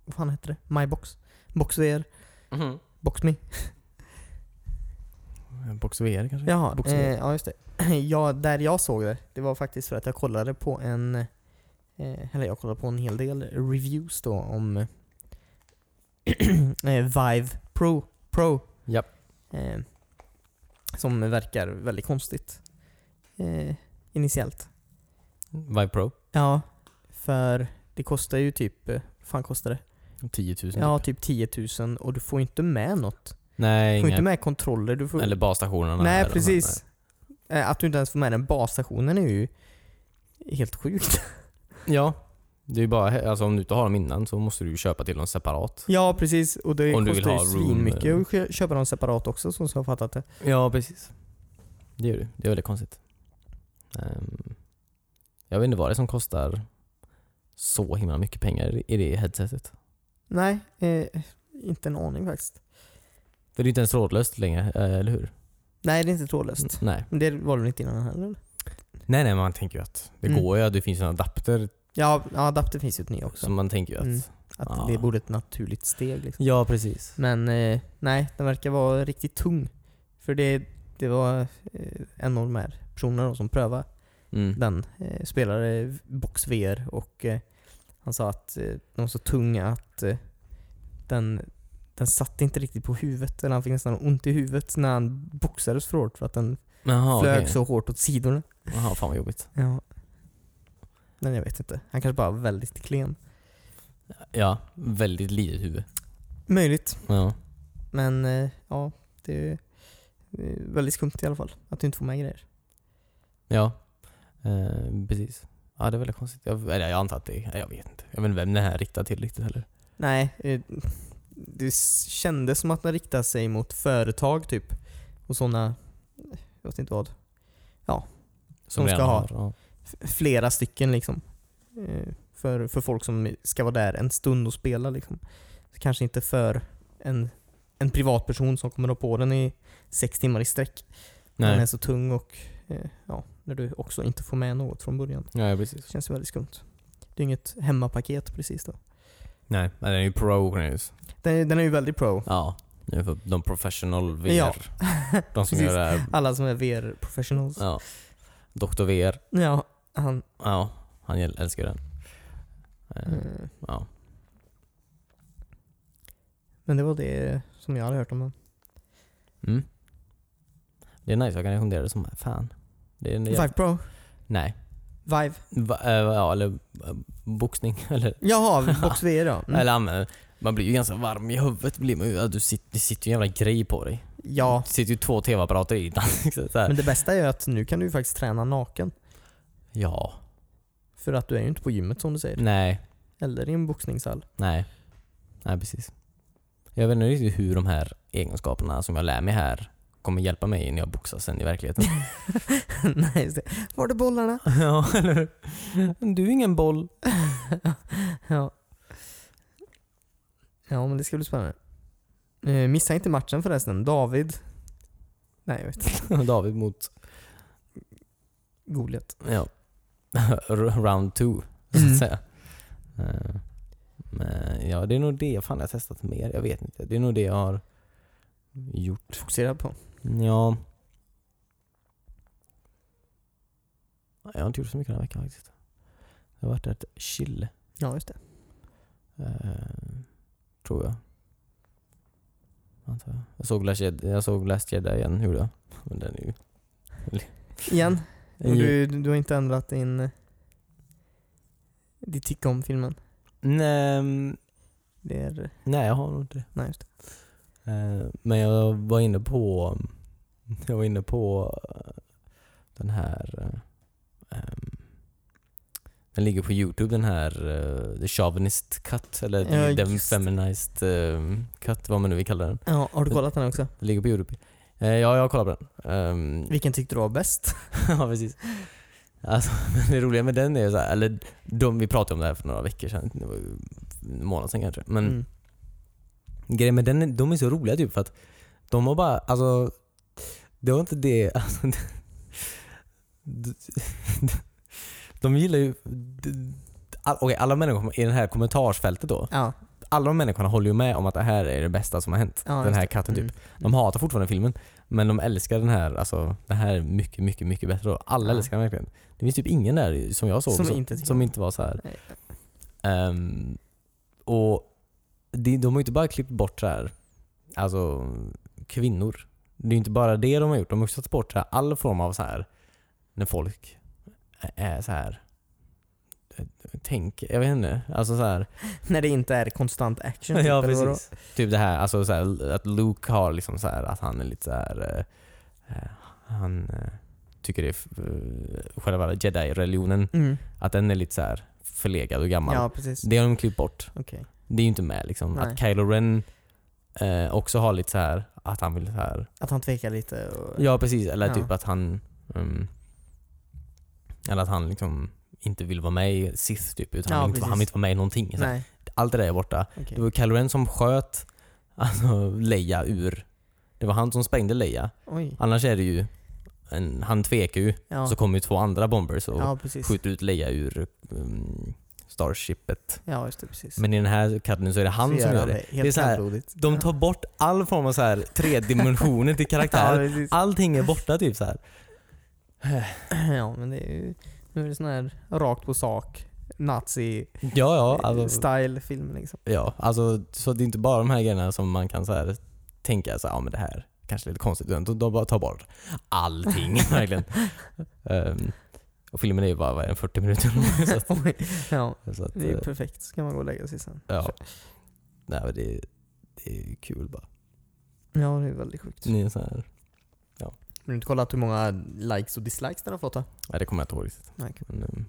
S2: vad fan heter det? MyBox. BoxVR. BoxMe.
S1: Eh, Box VR kanske?
S2: Jaha,
S1: Boxer.
S2: [clears throat] eh, ja just det. Ja, där jag såg det, det var faktiskt för att jag kollade på en eh, eller jag kollar på en hel del reviews då om [clears throat] eh, Vive Pro. Pro
S1: Japp.
S2: eh, som verkar väldigt konstigt eh, initiellt.
S1: Vive Pro.
S2: Ja, för det kostar ju typ, eh, vad fan kostar det?
S1: 10 000
S2: Ja,
S1: typ.
S2: typ 10 000 och du får inte med något. Du
S1: Nej,
S2: får inte
S1: inga,
S2: med kontroller. Du får,
S1: eller basstationerna.
S2: nej,
S1: eller-
S2: precis. Eh, Att du inte ens får med den basstationen är ju helt sjukt. [laughs]
S1: nej. Ja. Det är ju bara, alltså om du inte har dem innan så måste du ju köpa till dem separat.
S2: ja, precis. Och det
S1: Om du vill
S2: kostar ju
S1: ha room,
S2: svinmycket
S1: eh.
S2: att kö- köpa dem separat också, som jag har fattat det.
S1: Ja, precis. Det gör du. Det är väldigt konstigt. Ehm, jag vet inte vad det är som kostar så himla mycket pengar i det headsetet.
S2: Nej, eh, inte en aning faktiskt.
S1: För det är inte ens trådlöst längre, eh, eller hur?
S2: Nej, det är inte trådlöst.
S1: Nej.
S2: Men det var det väl inte innan heller?
S1: Nej, nej, man tänker ju att det
S2: Mm.
S1: går ju. att Det finns en adapter
S2: Ja, ja, adapter finns ju ett ny också.
S1: som man tänker ju att...
S2: Mm. Att
S1: Ja.
S2: det borde ett naturligt steg liksom.
S1: Ja, precis.
S2: Men eh, nej, den verkar vara riktigt tung. För det, det var eh, en av de här personerna då som prövade
S1: Mm.
S2: den. Eh, spelade Box VR och eh, han sa att eh, de var så tunga att eh, den, den satt inte riktigt på huvudet. Eller han fick nästan ont i huvudet när han boxades för hårt för att den
S1: Jaha,
S2: flög
S1: okej.
S2: så hårt åt sidorna.
S1: Jaha, fan vad jobbigt.
S2: Ja. Men jag vet inte. Han kanske bara var väldigt klen.
S1: Ja, väldigt litet huvud.
S2: Möjligt.
S1: Ja.
S2: Men eh, ja, det är det är väldigt skumt i alla fall. Att du inte får med grejer.
S1: Ja, eh, precis. Ja, det är väldigt konstigt. Jag, eller jag antar att det är... Jag vet inte. Jag vet inte vem den här riktar till riktigt heller.
S2: Nej, eh, det s- kändes som att den riktade sig mot företag typ. Och sådana, jag vet inte vad. Som ska
S1: redan
S2: ha.
S1: har, ja.
S2: F- Flera stycken liksom. Eh, För, för folk som ska vara där en stund och spela liksom. Så kanske inte för en, en privatperson som kommer ha på den i sex timmar i sträck. Den är
S1: Nej,
S2: så tung och eh, ja, när du också inte får med något från början.
S1: ja, precis.
S2: Det känns ju väldigt skumt. Det är inget hemmapaket precis då.
S1: Nej, men den är ju pro nu.
S2: Den, den är ju väldigt pro.
S1: Ja, nu är för de professional VR.
S2: [laughs] Ja.
S1: De som
S2: Precis.
S1: gör det här.
S2: Alla som är VR-professionals. Ja.
S1: Ja. Doktor VR.
S2: han...
S1: Ja, han gäll- älskar den. Eh,
S2: eh,
S1: Ja.
S2: Men det var det som jag hade hört om den.
S1: Mm. Det är nice, jag kan rekommendera det som fan. Det är en jävla...
S2: Vive Pro?
S1: Nej.
S2: Vive?
S1: Va, eh, ja, eller eh, boxning. [laughs] Eller,
S2: Jaha, Box VR ja. Mm.
S1: eller använder. Man blir ju ganska varm i huvudet. Blir man ju, ja, du sitter, det sitter ju en jävla grej på dig.
S2: Ja.
S1: Det sitter ju två TV-apparater i den. så här.
S2: Men det bästa är att nu kan du ju faktiskt träna naken.
S1: Ja.
S2: För att du är ju inte på gymmet som du säger.
S1: Nej.
S2: Eller i en boxningshall.
S1: Nej. Nej, precis. Jag vet inte riktigt hur de här egenskaperna som jag lär mig här kommer hjälpa mig när jag boxas sen i verkligheten.
S2: [laughs] Nej, just det. Var det bollarna?
S1: [laughs] ja, eller Du är ingen boll.
S2: ja. Ja, men det ska bli spännande. Eh, missa inte matchen förresten. David... Nej, jag vet
S1: [laughs]
S2: inte.
S1: David mot...
S2: Goliat.
S1: Ja. [laughs] Round two, så att
S2: Mm.
S1: säga. Eh, Men ja, det är nog det fan jag har testat mer. Jag vet inte. Det är nog det jag har gjort.
S2: Fokusera på.
S1: Ja. Jag har inte gjort så mycket den här veckan faktiskt. Det har varit rätt chill.
S2: Ja, just det.
S1: Eh, tror jag. Antar jag. Jag såg Last Jedi, jag såg Last Jedi igen, gjorde jag. Men den är ju...
S2: Igen. Och du,
S1: Mm.
S2: du har inte ändrat din... eh, Ditt tycke om filmen?
S1: Nej, mm,
S2: Det är...
S1: nej, jag har nog inte det.
S2: Nej, just det.
S1: Eh, men jag var inne på... [laughs] Jag var inne på eh, den här... eh, ehm, den ligger på youtube den här eh, The Chauvinist Cut eller
S2: Ja,
S1: The
S2: just.
S1: Feminized ehm, Cut, vad man nu vill kalla den.
S2: Ja, har du kollat den också?
S1: Den ligger på youtube. Eh, ja, jag kollar på den. Ehm,
S2: Vilken tyckte du var bäst?
S1: [laughs] ja, precis. Alltså, [laughs] men det roliga med den är så här, eller de, vi pratade om det här för några veckor sedan, det var ju en månad sedan kanske. Men
S2: Mm.
S1: grejen med den, är- de är så roliga typ för att de har bara, alltså det var inte det, [laughs] alltså, det de, [laughs] de gillar ju, de, all, okej, alla människor i det här kommentarsfältet då,
S2: Ja.
S1: alla de människorna håller ju med om att det här är det bästa som har hänt.
S2: Ja,
S1: den
S2: just
S1: här
S2: det.
S1: katten typ.
S2: Mm.
S1: De hatar fortfarande filmen, men de älskar den här. Alltså, det här är mycket, mycket, mycket bättre då. Alla
S2: Ja.
S1: älskar den verkligen. Det finns typ ingen där som jag såg
S2: Som
S1: som,
S2: inte tycker
S1: som
S2: om
S1: inte var så här.
S2: Nej.
S1: Ehm, och de, de har ju inte bara klippt bort så här, alltså kvinnor. Det är ju inte bara det de har gjort. De har också tagit bort så här, all form av så här när folk är så här tänk, jag vet inte. Alltså så här,
S2: När det inte är konstant action.
S1: [laughs]
S2: typ,
S1: ja,
S2: eller vadå?
S1: precis. Typ det här, alltså så här, att Luke har liksom så här, att han är lite så här, eh, eh, han eh, tycker det är f- eh, själva jedi-religionen,
S2: Mm.
S1: att den är lite så här förlegad och gammal.
S2: Ja, precis.
S1: Det har de klippt bort.
S2: Okej.
S1: Det är ju inte med liksom.
S2: Nej.
S1: Att Kylo Ren eh, också har lite så här att han vill så här.
S2: Att han tvekar lite och...
S1: Ja precis, eller
S2: Ja.
S1: typ att han mm, eller att han liksom inte vill vara med i Sith typ, utan
S2: Ja,
S1: han, vill inte, han vill
S2: precis.
S1: inte vara med i någonting. Så här,
S2: Nej,
S1: Allt det där är borta.
S2: okej.
S1: Det var Kylo Ren som sköt alltså, Leia ur. Det var han som sprängde Leia.
S2: Oj.
S1: Annars är det ju, en, han tvekar ju,
S2: Ja.
S1: så kommer ju två andra bombers och
S2: ja, precis.
S1: skjuter ut Leia ur um, Starshipet.
S2: Ja, just det. Precis.
S1: Men i den här Cadden så är det han
S2: Så
S1: som gör
S2: han
S1: det.
S2: Helt
S1: Det är så här,
S2: kallblodigt.
S1: De tar bort all form av så här, tre dimensioner
S2: [laughs]
S1: till
S2: Ja,
S1: karaktärer.
S2: precis. [clears throat]
S1: Allting är borta typ så här.
S2: Ja, men det är ju... Nu är det sån här rakt på sak, nazi-style
S1: Ja, ja. Alltså,
S2: film liksom. [laughs]
S1: ja, alltså, så det är inte bara de här grejerna som man kan så här, tänka så här, ja men det här kanske är lite konstigt. utan De de bara tar bort
S2: [laughs]
S1: allting verkligen. Ehm, och filmen är ju bara vad är det, 40 minuter lång. [laughs] så att,
S2: Oj. ja,
S1: så att,
S2: det är ju
S1: eh,
S2: perfekt. Så kan man gå och lägga sig sen.
S1: ja. Nej, men det, är- det är ju kul bara.
S2: Ja, det är väldigt sjukt.
S1: Ni är så här,
S2: Har du inte kollat hur många likes och dislikes den har fått då?
S1: nej, det kommer jag inte ihåg riktigt.
S2: Nej, okej.
S1: Men, ehm,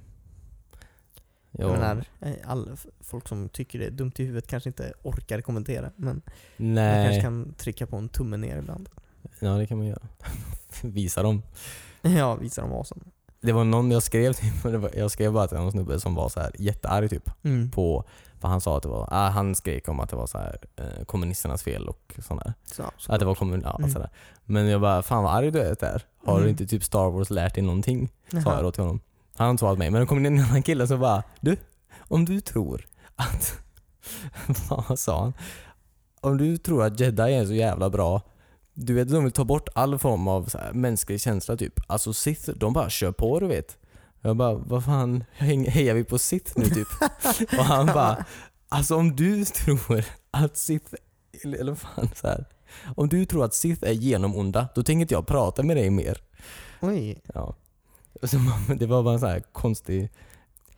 S1: ja,
S2: Jag menar, eh, all, folk som tycker det är dumt i huvudet kanske inte orkar kommentera, men man kanske
S1: nej,
S2: kan trycka på en tumme ner ibland. [laughs]
S1: ja, det kan man göra. [laughs] Visa dem.
S2: Ja, visa dem awesome.
S1: Det var någon jag skrev till, men det var- jag skrev bara till någon snubbe som var så här jättearg typ.
S2: Mm.
S1: På, för han sa att det var, ah, han skrek om att det var så här, eh, kommunisternas fel och sånt där.
S2: Så, så.
S1: Att det var kommun, ja,
S2: Mm.
S1: sådär. Men jag bara, fan vad arg du är där. Har
S2: Mm.
S1: du inte typ Star Wars lärt dig någonting? Sa
S2: Jaha.
S1: jag då till honom. Han har inte svarat mig, men då kom det en annan kille som bara, du, om du tror att, [laughs] vad sa han? Om du tror att jedi är så jävla bra, du vet de vill ta bort all form av så här, mänsklig känsla typ. Alltså Sith, de bara kör på du vet. Jag bara, vad fan häng- hejar vi på Sith nu typ? Och han bara, alltså om du tror att Sith, eller eller fan så här. Om du tror att Sith är genomonda, då tänker inte jag prata med dig mer.
S2: Oj.
S1: Ja. Och Så man, det var bara en sån här konstig...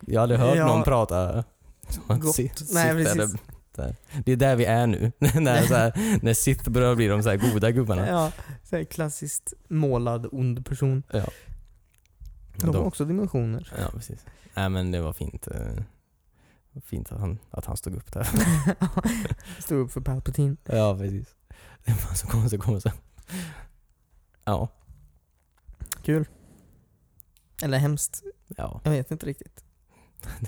S1: Jag hade hört
S2: Ja.
S1: någon prata som
S2: Gott.
S1: att Sith, Sith
S2: Nej,
S1: är
S2: precis.
S1: det, där. det är där vi är nu. [laughs] när, så här, när Sith börjar bli de så här goda gubbarna.
S2: Ja, så här klassiskt målad ond person.
S1: Ja.
S2: De har
S1: De,
S2: också dimensioner.
S1: ja, precis. Nej men det var fint. eh, Fint att han, att han stod upp
S2: [laughs]
S1: där.
S2: Stod upp för Palpatine.
S1: Ja, precis. Det var så konstigt att komma så. Ja,
S2: Kul. Eller hemskt.
S1: ja,
S2: Jag vet inte riktigt.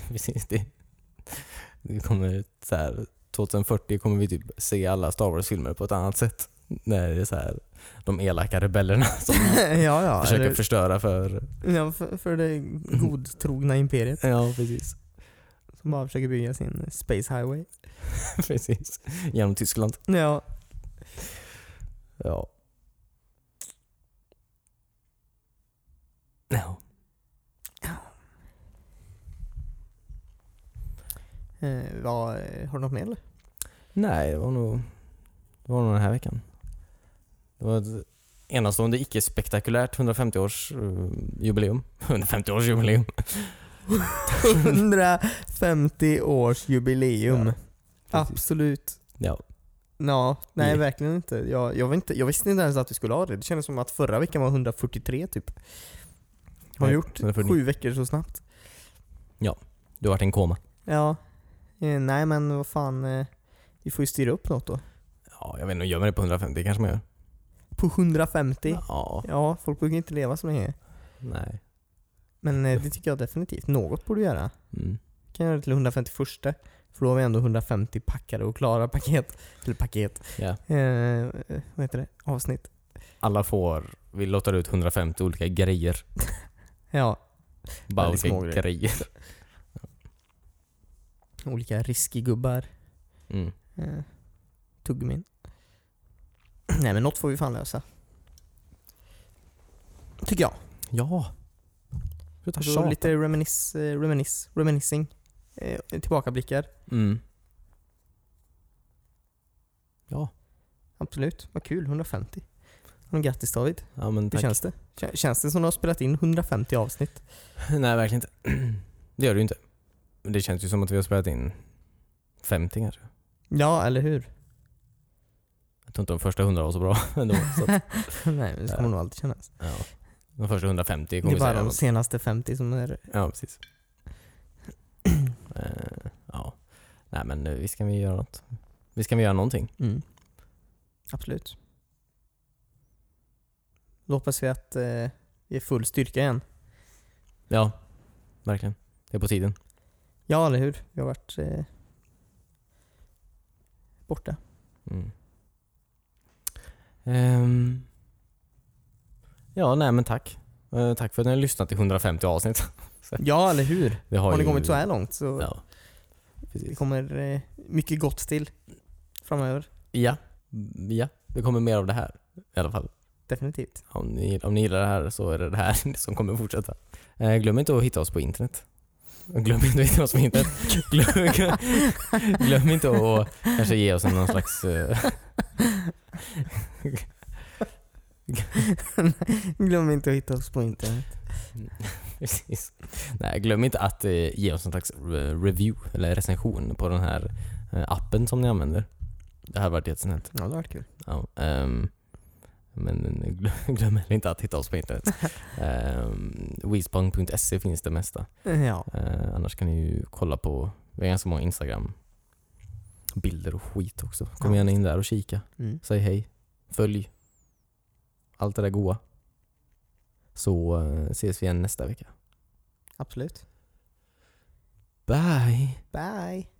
S1: precis. [laughs] Det, det kommer så här, 2040 kommer vi typ se alla Star Wars-filmer på ett annat sätt. När det är så här, de elaka rebellerna som
S2: [laughs] ja, ja.
S1: Alltså, försöker Mm.
S2: eller-
S1: förstöra för...
S2: ja för, för det godtrogna imperiet
S1: Ja, precis.
S2: som bara försöker bygga sin space highway.
S1: [laughs] precis. Genom Tyskland.
S2: Ja.
S1: Ja. Ja.
S2: Eh, vad, eh, har du något mer eller?
S1: Nej, det var nog, det var nog den här veckan. Det var ett enastående icke-spektakulärt eh, [laughs] 150-årsjubileum. 150-årsjubileum.
S2: 150 års jubileum.
S1: Ja,
S2: Absolut.
S1: Ja.
S2: Ja, nej
S1: Nej.
S2: verkligen inte. Jag, jag, var inte. jag visste inte ens att vi skulle ha det. Det kändes som att förra veckan var 143 typ. Har
S1: Nej,
S2: gjort
S1: 149.
S2: sju veckor så snabbt.
S1: Du har varit i en koma.
S2: Ja. Eh, nej men vad fan. Eh, vi får ju styra upp något då.
S1: Ja, jag vet inte, gör man det på 150 kanske man gör.
S2: På 150?
S1: Ja,
S2: Ja, folk brukar inte leva så länge.
S1: nej.
S2: Men eh, det tycker jag definitivt. Något borde vi göra.
S1: Mm.
S2: kan jag göra det till 151 för då har vi ändå 150 packade och klara paket. Eller paket.
S1: Ja.
S2: Eh, vad heter det? Avsnitt.
S1: Alla får, vi lottar ut 150 olika grejer.
S2: Ja,
S1: Bara
S2: Väldigt
S1: olika
S2: små grejer.
S1: grejer.
S2: olika riskigubbar.
S1: Mm.
S2: Eh, tuggummin. [clears throat] Nej men något får vi fan lösa. Tycker jag.
S1: Ja. Sluta
S2: Och så
S1: tjata.
S2: Alltså, lite reminis, eh, reminis, reminissing. Eh, tillbakablickar.
S1: Mm. Ja.
S2: Absolut. Vad kul. 150. Men Grattis David.
S1: Ja men
S2: Hur
S1: tack.
S2: känns det? Kä- Känns det som du har spelat in 150 avsnitt?
S1: [clears throat] Nej verkligen inte. [clears throat] Det gör det ju inte. Men det känns ju som att vi har spelat in 50 kanske.
S2: Ja, eller [laughs] hur?
S1: Jag tror inte de första 100 var så bra [laughs] ändå. Så
S2: [laughs]
S1: att,
S2: Nej, men det
S1: Ja.
S2: kommer nog alltid kännas.
S1: ja. De första 150
S2: Det
S1: kommer
S2: är
S1: vi
S2: bara
S1: säga.
S2: de
S1: något.
S2: senaste 50 som är...
S1: Ja precis. [clears throat] Eh, ja. Nej men eh, visst kan vi göra något. Visst kan vi göra någonting.
S2: Mm. Absolut. Då hoppas vi att eh, vi är full styrka igen.
S1: Ja. Verkligen. Det är på tiden.
S2: Ja, eller hur? Vi har varit eh, borta.
S1: Mm. Ehm. ja, nej men tack. Eh, tack för att ni har lyssnat i 150 avsnitt. [laughs]
S2: Ja, eller hur?
S1: Det
S2: Har ni
S1: ju-
S2: kommit så här långt så
S1: Ja.
S2: det
S1: Precis.
S2: kommer eh, mycket gott till framöver.
S1: Ja. Mm, ja, det kommer mer av det här i alla fall.
S2: Definitivt.
S1: Om ni, om ni gillar det här så är det det här [laughs] som kommer fortsätta. Eh, glöm inte att hitta oss på internet. Glöm inte att hitta oss på internet. glöm, [laughs] glöm inte att kanske ge oss någon slags... eh, [laughs]
S2: Glöm inte att hitta oss på internet.
S1: Precis. Nej, glöm inte att eh, ge oss en slags re- review eller recension på den här eh, appen som ni använder. Det här var jättesnällt.
S2: Ja, det var kul.
S1: Ja, ehm, men glö- glöm heller inte att hitta oss på internet. um, Weezpong.se finns det mesta.
S2: Ja,
S1: Eh, annars kan ni ju kolla på, vi har ganska många Instagram bilder och skit också. Kom
S2: Ja.
S1: gärna in där och kika.
S2: mm.
S1: Säg hej. Följ. Allt det där goa. Så eh, ses vi igen nästa vecka.
S2: absolut.
S1: Bye!
S2: Bye!